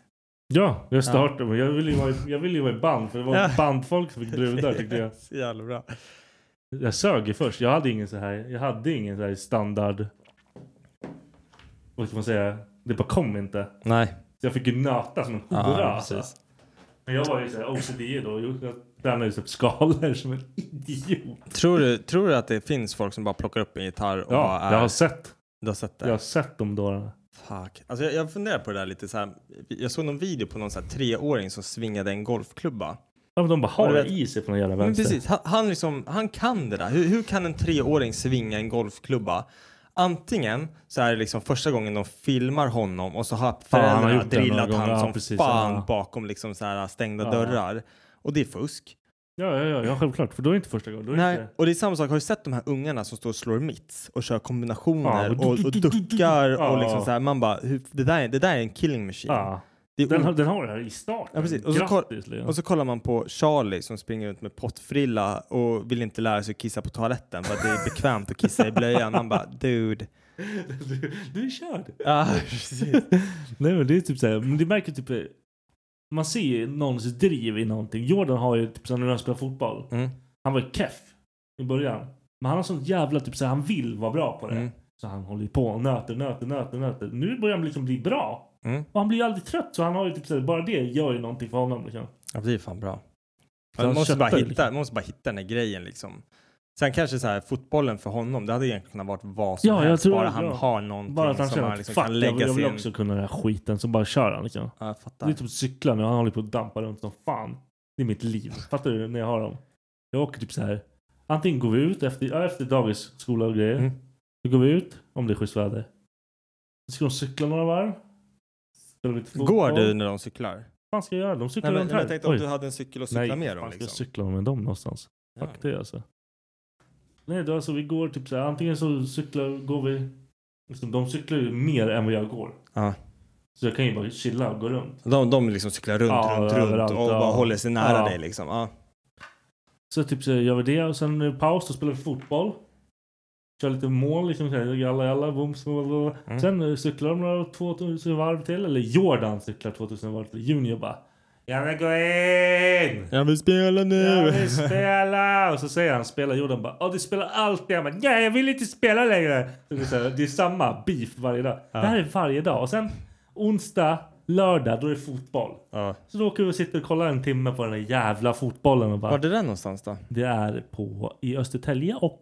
Speaker 5: Ja, jag startade. men Jag ville ju vara i- jag ville ju vara i band. För det var
Speaker 3: Ja.
Speaker 5: bandfolk som fick
Speaker 3: *laughs*
Speaker 5: brudar tyckte jag.
Speaker 3: Så jävla bra.
Speaker 5: Jag sög ju först. Jag hade ingen så här, jag hade ingen så här standard... Vad ska man säga? Det bara kom inte.
Speaker 3: Nej.
Speaker 5: Så jag fick ju nöta som en
Speaker 3: Ja,
Speaker 5: hora. alltså.
Speaker 3: precis.
Speaker 5: Men jag var ju så här OCD då. Jag jag tränade ju typ skalor som en idiot.
Speaker 3: Tror du, tror du att det finns folk som bara plockar upp en gitarr och bara
Speaker 5: Ja,
Speaker 3: är,
Speaker 5: jag har sett.
Speaker 3: du har sett det?
Speaker 5: Jag har sett de dårarna.
Speaker 3: Fuck. Alltså jag, jag funderar på det där lite så här. Jag såg någon video på någon så här treåring som svingade en golfklubba.
Speaker 5: Ja, men de bara har
Speaker 3: Och du
Speaker 5: det
Speaker 3: vet-
Speaker 5: i sig på någon jävla
Speaker 3: Men
Speaker 5: vänster.
Speaker 3: precis, han, han, liksom, han kan det där. Hur, hur kan en treåring svinga en golfklubba? Antingen så är det liksom första gången de filmar honom och så har
Speaker 5: han har
Speaker 3: föräldrarna
Speaker 5: gjort det några
Speaker 3: drillat
Speaker 5: gånger.
Speaker 3: han
Speaker 5: Ja,
Speaker 3: som
Speaker 5: precis.
Speaker 3: fan
Speaker 5: Ja.
Speaker 3: bakom liksom så här stängda
Speaker 5: Ja.
Speaker 3: dörrar. Och det är fusk.
Speaker 5: Ja, ja, ja, ja, självklart. För då är det inte första gången. Då är det
Speaker 3: Nej.
Speaker 5: inte...
Speaker 3: Och det är samma sak, har du sett de här ungarna som står och slår mitts och kör kombinationer
Speaker 5: Ja, och
Speaker 3: och, och duckar och
Speaker 5: Ja.
Speaker 3: liksom så här, man bara, hur, det, där är, det där är en killing machine.
Speaker 5: Ja,
Speaker 3: Det är
Speaker 5: den,
Speaker 3: o-
Speaker 5: har- den har det här i starten.
Speaker 3: Ja, precis. Och så koll-
Speaker 5: Grattis, Leon.
Speaker 3: Och så kollar man på Charlie som springer runt med pottfrilla och vill inte lära sig att kissa på toaletten för att det är bekvämt att kissa i blöjan. Man bara dude.
Speaker 5: *laughs* Du, du är körd.
Speaker 3: Ja, precis.
Speaker 5: Nej men det är typ såhär, men det märker typ eh, Man ser ju någons driv i någonting. Jordan har ju typ såhär när han spelar fotboll.
Speaker 3: Mm.
Speaker 5: Han var ju keff i början. Men han har sånt jävla typ såhär, han vill vara bra på det.
Speaker 3: Mm.
Speaker 5: Så han håller ju på och nöter, nöter, nöter, nöter. Nu börjar han liksom bli bra.
Speaker 3: Mm.
Speaker 5: Och han blir ju aldrig trött så han har ju typ såhär, bara det gör ju någonting för honom liksom.
Speaker 3: Ja, det är fan bra.
Speaker 5: Så han
Speaker 3: Man måste, bara
Speaker 5: köttar ju
Speaker 3: hitta, man måste bara hitta den här grejen liksom. Sen kanske så här, fotbollen för honom, det hade egentligen kunnat varit vad som
Speaker 5: Ja, jag
Speaker 3: helst.
Speaker 5: tror-
Speaker 3: bara han
Speaker 5: ja.
Speaker 3: har någonting
Speaker 5: Bara att han
Speaker 3: som
Speaker 5: känner
Speaker 3: han
Speaker 5: att
Speaker 3: liksom
Speaker 5: fuck,
Speaker 3: kan
Speaker 5: jag,
Speaker 3: lägga
Speaker 5: jag vill
Speaker 3: sin...
Speaker 5: också kunna den här skiten. Så bara kör han liksom.
Speaker 3: Ja, jag
Speaker 5: Det är
Speaker 3: fattar.
Speaker 5: typ cyklar nu. Han håller på att dampa runt som fan. Det är mitt liv. Fattar du? När jag har dem. Jag åker typ så här. Antingen går vi ut efter, ja, efter dagis, skola och grejer.
Speaker 3: Mm.
Speaker 5: Då går vi ut om det är schysst väder. Så ska de cykla några varv. Spelar lite fotboll.
Speaker 3: Går du när de cyklar?
Speaker 5: Vad fan ska jag göra? De cyklar
Speaker 3: Nej, men,
Speaker 5: runt
Speaker 3: jag
Speaker 5: här.
Speaker 3: tänkte om
Speaker 5: Oj.
Speaker 3: du hade en cykel att
Speaker 5: Nej,
Speaker 3: cykla med dem.
Speaker 5: fan ska jag
Speaker 3: Liksom.
Speaker 5: cykla med dem någonstans?
Speaker 3: Ja.
Speaker 5: Fuck det alltså. Nej, då alltså vi går typ så här. Antingen så cyklar, går vi. Liksom, de cyklar ju mer än vad jag går.
Speaker 3: Ja.
Speaker 5: Så jag kan ju bara chilla och gå runt.
Speaker 3: De, de liksom cyklar runt,
Speaker 5: Ja,
Speaker 3: runt,
Speaker 5: överallt,
Speaker 3: runt och
Speaker 5: ja.
Speaker 3: bara håller sig nära
Speaker 5: Ja.
Speaker 3: dig. Liksom. Ja.
Speaker 5: Så typ så gör vi det och sen eh, paus, då spelar vi fotboll. Kör lite mål, liksom så här, jalla jalla, booms,
Speaker 3: Mm.
Speaker 5: Sen eh, cyklar de några 2000 varv till, eller Jordan cyklar 2000 varv till. Junior bara Jag vill gå in!
Speaker 3: Jag vill spela nu!
Speaker 5: Jag vill spela! Och så säger han spela. Jordan bara ja du spelar alltid. Han bara nej jag vill inte spela längre. Så det, är så här, det är samma beef varje dag. Det här är varje dag. Och sen onsdag, lördag då är det fotboll.
Speaker 3: ja.
Speaker 5: Så då åker vi och sitter och kollar en timme på den där jävla fotbollen och bara
Speaker 3: Var är det där någonstans då?
Speaker 5: det är på i Östertälje och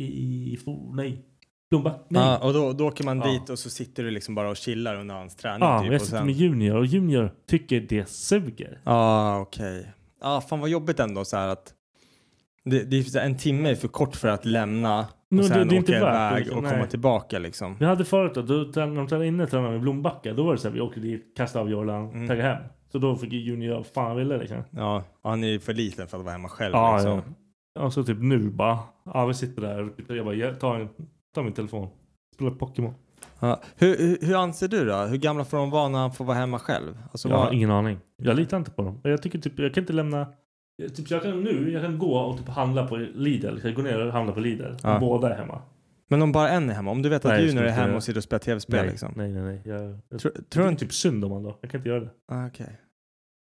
Speaker 5: i... Fo- Nej. Blomba. Nej.
Speaker 3: Ja, och då, då åker man
Speaker 5: Ja.
Speaker 3: dit och så sitter du liksom bara och chillar under hans träning.
Speaker 5: ja,
Speaker 3: typ,
Speaker 5: jag
Speaker 3: och
Speaker 5: sitter
Speaker 3: sen...
Speaker 5: med Junior och Junior tycker det suger.
Speaker 3: Ja, okej. ah, fan vad jobbigt ändå så här att det, det är så här, en timme är för kort för att lämna och
Speaker 5: Nej, det-
Speaker 3: sen
Speaker 5: det är inte
Speaker 3: åka
Speaker 5: värt det,
Speaker 3: iväg
Speaker 5: liksom.
Speaker 3: och
Speaker 5: Nej.
Speaker 3: komma tillbaka liksom.
Speaker 5: Vi hade förut då, då trän- när de tränade inne tränade vi i Blombacka. Då var det så här, vi åkte dit, kastade av Jordan,
Speaker 3: Mm.
Speaker 5: taggade hem. Så då fick ju Junior göra vad fan han ville liksom.
Speaker 3: Ja, han är ju för liten för att vara hemma själv.
Speaker 5: Ja,
Speaker 3: liksom.
Speaker 5: ja. Och så typ nu bara, ja vi sitter där och jag bara, jag tar, en- tar min telefon. Spelar Pokémon.
Speaker 3: Ja. Hur, hur, hur anser du då? Hur gamla får de vara när han får vara hemma själv? Alltså,
Speaker 5: jag har
Speaker 3: vad-
Speaker 5: ingen aning. Jag litar inte på dem. Jag tycker typ, jag kan inte lämna... jag- Typ jag kan nu, jag kan gå och typ handla på Lidl. Jag går ner och handlar på Lidl.
Speaker 3: Ja.
Speaker 5: Båda är hemma.
Speaker 3: Men om bara en är hemma? Om du vet att
Speaker 5: Nej, jag
Speaker 3: Junior
Speaker 5: skulle
Speaker 3: är hemma
Speaker 5: inte-
Speaker 3: och sitter och spelar tv-spel liksom?
Speaker 5: nej, nej, nej. Jag, jag
Speaker 3: Tror, tror
Speaker 5: tror
Speaker 3: du inte...
Speaker 5: inte typ synd om honom. Jag kan inte göra det.
Speaker 3: Ah, Okej.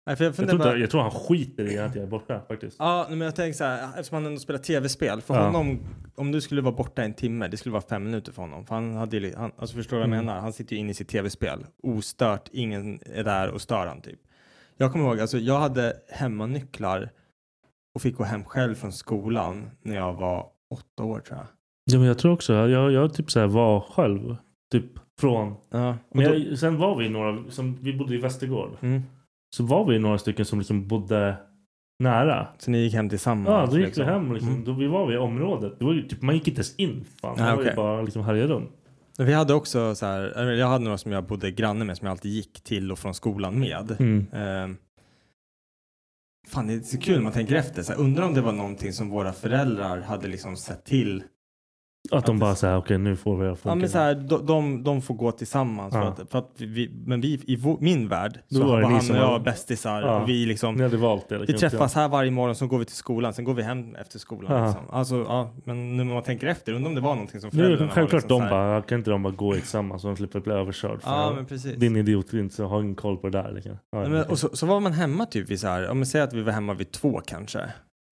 Speaker 3: Nej, för jag
Speaker 5: Jag
Speaker 3: funderar
Speaker 5: tror,
Speaker 3: bara...
Speaker 5: inte, jag tror han skiter i att jag är borta faktiskt.
Speaker 3: Ja, nej, men jag tänker så här, eftersom han ändå spelar tv-spel. För
Speaker 5: Ja.
Speaker 3: honom, om du skulle vara borta en timme, det skulle vara fem minuter för honom. För han hade ju, li- han, alltså förstår du vad jag
Speaker 5: Mm.
Speaker 3: menar? Han sitter ju inne i sitt tv-spel, ostört, ingen är där och stör han typ. Jag kommer ihåg, alltså jag hade hemmanycklar och fick gå hem själv från skolan när jag var åtta år tror jag.
Speaker 5: Ja, men jag tror också, jag, jag typ så här var själv. Typ från...
Speaker 3: Ja, och
Speaker 5: Men
Speaker 3: då,
Speaker 5: jag, sen var vi några, som, vi bodde i Västergård.
Speaker 3: mm,
Speaker 5: Så var vi några stycken som liksom bodde nära.
Speaker 3: så ni gick hem tillsammans?
Speaker 5: Ja, då gick
Speaker 3: liksom.
Speaker 5: vi hem liksom.
Speaker 3: Mm.
Speaker 5: Då vi var vid området. Det var ju typ, man gick inte ens in. Fan.
Speaker 3: Nej,
Speaker 5: Man var ju
Speaker 3: okej.
Speaker 5: bara liksom härjade runt.
Speaker 3: Vi hade också så här, eller jag hade några som jag bodde granne med som jag alltid gick till och från skolan med.
Speaker 5: Mm.
Speaker 3: Eh, fan, det är så kul när man tänker efter. Så här, undrar om det var någonting som våra föräldrar hade liksom sett till.
Speaker 5: Att de
Speaker 3: Att
Speaker 5: bara
Speaker 3: det-
Speaker 5: såhär, okej nu får vi funka.
Speaker 3: Ja, men så här, de, de, de får gå tillsammans.
Speaker 5: Ja.
Speaker 3: För att, för att vi- vi, men vi, i vår, min värld
Speaker 5: Då
Speaker 3: så
Speaker 5: var
Speaker 3: var
Speaker 5: det ni
Speaker 3: han
Speaker 5: som
Speaker 3: och jag
Speaker 5: var-
Speaker 3: bästisar.
Speaker 5: Ja.
Speaker 3: Och vi, liksom,
Speaker 5: Ni hade valt det. det
Speaker 3: vi
Speaker 5: kan inte
Speaker 3: träffas här varje morgon, så går vi till skolan, sen går vi hem efter skolan.
Speaker 5: Ja.
Speaker 3: Liksom. Alltså, ja, men när man tänker efter, undrar om det var någonting som
Speaker 5: jag. Nu är
Speaker 3: föräldrarna
Speaker 5: det självklart
Speaker 3: var
Speaker 5: de
Speaker 3: liksom så här-
Speaker 5: bara, kan inte de bara gå tillsammans så de slipper bli överkörd?
Speaker 3: Ja,
Speaker 5: Fan,
Speaker 3: men precis.
Speaker 5: Din idiot inte så har ingen koll på det där. Liksom. Ja,
Speaker 3: Nej,
Speaker 5: ja.
Speaker 3: men, och så, så var man hemma typ vid så här, om man säger att vi var hemma vid två kanske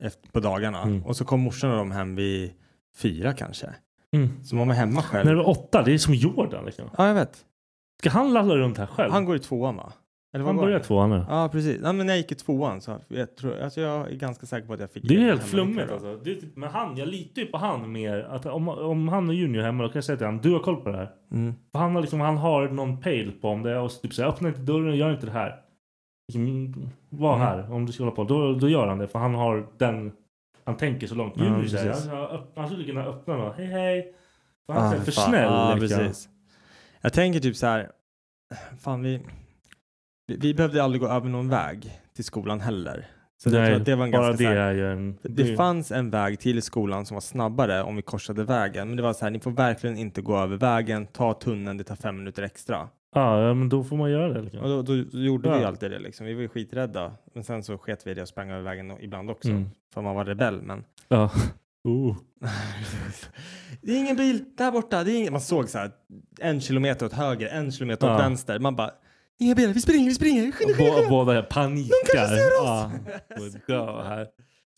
Speaker 3: efter, på dagarna
Speaker 5: Mm.
Speaker 3: och så kom morsan och de hem vid fyra kanske.
Speaker 5: Mm.
Speaker 3: Så man var hemma själv.
Speaker 5: När det var åtta, det är som Jordan liksom.
Speaker 3: Ja, jag vet.
Speaker 5: Ska han lalla runt här själv?
Speaker 3: Han går i tvåan va? Eller vad
Speaker 5: Han
Speaker 3: går
Speaker 5: börjar tvåan nu.
Speaker 3: Ja, precis. Ja, men när jag gick i tvåan så jag tror, alltså jag är ganska säker på att jag fick.
Speaker 5: Det är
Speaker 3: en
Speaker 5: helt
Speaker 3: hemma-
Speaker 5: flummigt alltså. Det är typ, men han, jag litar ju på han mer. Att om, om han är junior hemma då kan jag säga till honom, du har koll på det här.
Speaker 3: Mm.
Speaker 5: För han, har liksom, han har någon pejl på om det är och så typ såhär, öppna inte dörren och gör inte det här. Liksom, var
Speaker 3: Mm.
Speaker 5: här om du ska hålla på. Då, då gör han det för han har den, han tänker så långt.
Speaker 3: Ja,
Speaker 5: Junior säger,
Speaker 3: precis.
Speaker 5: han, han, han skulle kunna öppna någon, hej hej. För han
Speaker 3: Ah,
Speaker 5: är för
Speaker 3: fan.
Speaker 5: snäll.
Speaker 3: Ja,
Speaker 5: liksom.
Speaker 3: precis. Jag tänker typ så här, fan vi, vi, vi behövde aldrig gå över någon väg till skolan heller. Så jag
Speaker 5: Nej,
Speaker 3: tror att det var en
Speaker 5: Bara
Speaker 3: ganska
Speaker 5: det
Speaker 3: så här,
Speaker 5: är ju en...
Speaker 3: Det fanns en väg till skolan som var snabbare om vi korsade vägen. Men det var så här, ni får verkligen inte gå över vägen. Ta tunneln, det tar fem minuter extra.
Speaker 5: Ja, ja, men då får man göra det. Liksom.
Speaker 3: Och då, då, då gjorde vi
Speaker 5: Ja.
Speaker 3: alltid det liksom. Vi var ju skiträdda. Men sen så sket vi i det och sprang över vägen och- ibland också.
Speaker 5: Mm.
Speaker 3: För man var rebell. Men... *laughs*
Speaker 5: Ja. Oh.
Speaker 3: det är ingen bil där borta. Det är ingen... Man såg så här en kilometer åt höger, en kilometer åt
Speaker 5: Ja.
Speaker 3: vänster. Man bara, inga bilar, vi springer, vi springer. Skynda, skynda,
Speaker 5: Bå,
Speaker 3: skynda.
Speaker 5: båda panikar.
Speaker 3: De kanske ser oss. Ah, *laughs*
Speaker 5: Ja, får dö här.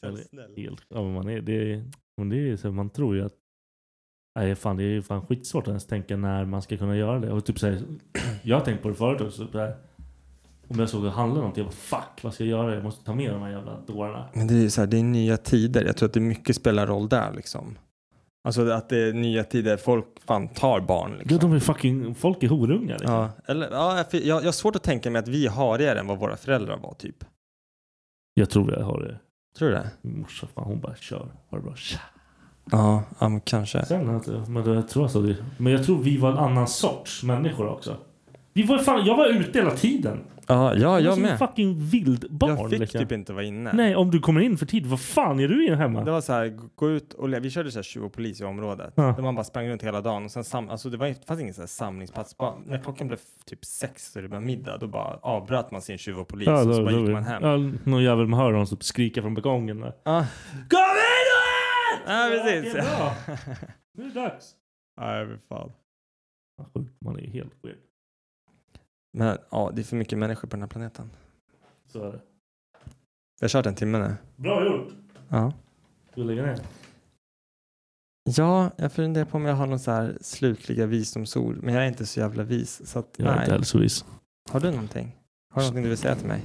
Speaker 3: Så snäll.
Speaker 5: Helt, ja, men man, är, det är, men det är så, här, man tror ju att nej, fan, det är ju fan *clears throat* skitsvårt att ens tänka när man ska kunna göra det. Och typ så här, jag har tänkt på det förut också. Så här, Om jag såg att handla någonting, jag bara fuck vad ska jag göra? Jag måste ta med de här jävla dårarna.
Speaker 3: Men det är ju så här, det är nya tider. Jag tror att det mycket spelar roll där liksom. Alltså att det är nya tider. Folk fan tar barn liksom.
Speaker 5: Ja, de är fucking, folk är horungar. Liksom.
Speaker 3: Ja, eller, ja, jag, jag, jag har svårt att tänka mig att vi har det än vad våra föräldrar var typ.
Speaker 5: Jag tror jag har det.
Speaker 3: Tror du det?
Speaker 5: Min morsa fan, hon bara kör, ha det bra. Tja.
Speaker 3: Ja, ja men kanske.
Speaker 5: Sen, har jag inte- men, då, jag tror alltså, det- men jag tror vi var en annan sorts människor också. Vi var fan, jag var ute hela tiden.
Speaker 3: Ja, ja
Speaker 5: var
Speaker 3: jag
Speaker 5: som en
Speaker 3: med.
Speaker 5: fucking vild Alltså, barn.
Speaker 3: Jag fick
Speaker 5: liksom.
Speaker 3: typ inte vara inne.
Speaker 5: Nej, om du kommer in för tid, vad fan är du i hemma?
Speaker 3: Det var så här, g- gå ut och le- vi körde så här tjuv och polis i området.
Speaker 5: Ja.
Speaker 3: Där man bara sprang runt hela dagen. Och sen sam, alltså det, var, det fanns ingen så här samlingsplats. Bara, när klockan blev f- typ sex så det var middag, då bara avbröt man sin tjuv och polis och så bara gick man hem. Ja,
Speaker 5: Ja, någon jävel man hör honom som skrika från balkongen. där.
Speaker 3: Kom in och ät! Ja, precis.
Speaker 5: det är bra.
Speaker 3: *laughs*
Speaker 5: Nu är det dags.
Speaker 3: Nej, men fan.
Speaker 5: Ja, sjukt, Man är ju helt weird.
Speaker 3: Men ja, det är för mycket människor på den här planeten.
Speaker 5: Så är det.
Speaker 3: Vi har kört en timme nu.
Speaker 5: Bra gjort.
Speaker 3: Ja.
Speaker 5: Ska vi lägga ner?
Speaker 3: Ja, jag funderar på om jag har någon så här slutliga visdomsord, men jag är inte så jävla vis. Så att,
Speaker 5: Jag är
Speaker 3: nej.
Speaker 5: inte hälsovis.
Speaker 3: Har du någonting? Har du någonting du vill säga till mig?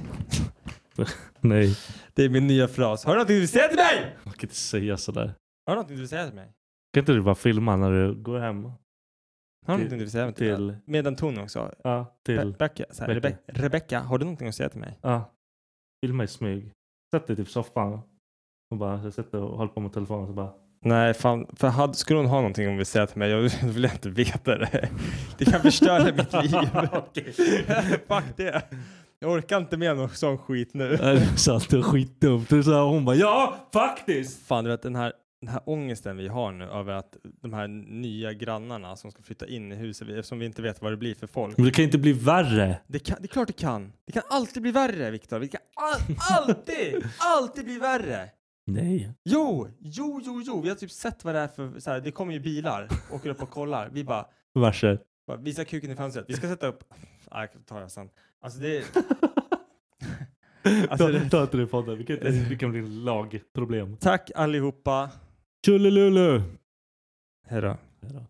Speaker 5: Nej.
Speaker 3: Det är min nya fras. Har du någonting du vill säga till mig?
Speaker 5: Man kan inte säga sådär.
Speaker 3: Har du någonting du vill säga till mig?
Speaker 5: Kan inte du bara filma när du går hem?
Speaker 3: Har du
Speaker 5: Till-
Speaker 3: någonting du vill säga till mig?
Speaker 5: Till...
Speaker 3: Med den tonen också.
Speaker 5: Ja, till...
Speaker 3: Rebecka, så här,
Speaker 5: Becka.
Speaker 3: Rebe- Rebecka, har du någonting att säga till mig?
Speaker 5: Ja. Filma i smyg. Sätt dig typ i soffan. Och bara jag sätter och håller på med telefonen. Så *laughs* bara...
Speaker 3: Nej, fan. För hade, skulle hon ha någonting hon vill säga till mig, jag *laughs* vill inte veta det. Det kan förstöra mitt
Speaker 5: *laughs*
Speaker 3: liv.
Speaker 5: Okej.
Speaker 3: Fuck det. Jag orkar inte med någon sån skit nu.
Speaker 5: Nej, det är sant. Det är skitdumt. Det är så här, hon bara ja, faktiskt.
Speaker 3: Fan, du vet den här, den här ångesten vi har nu över att de här nya grannarna som ska flytta in i huset, vi- eftersom vi inte vet vad det blir för folk.
Speaker 5: Men det kan inte bli värre.
Speaker 3: Det, kan, det är klart det kan. Det kan alltid bli värre, Viktor. Det kan all, alltid, alltid bli värre.
Speaker 5: Nej.
Speaker 3: Jo, jo, jo, jo. Vi har typ sett vad det är för, så här, det kommer ju bilar, åker upp och kollar. Vi bara,
Speaker 5: Varse.
Speaker 3: bara visa kuken i fönstret. Vi ska sätta upp, nej, jag tar jag sen. Alltså det är,
Speaker 5: Alltså,
Speaker 3: Alltså,
Speaker 5: ta,
Speaker 3: det-
Speaker 5: ta inte det i podden. Vi kan inte- Det kan bli en lagproblem.
Speaker 3: tack allihopa.
Speaker 5: Tjolilulu!
Speaker 3: Hej då.
Speaker 5: Hejdå.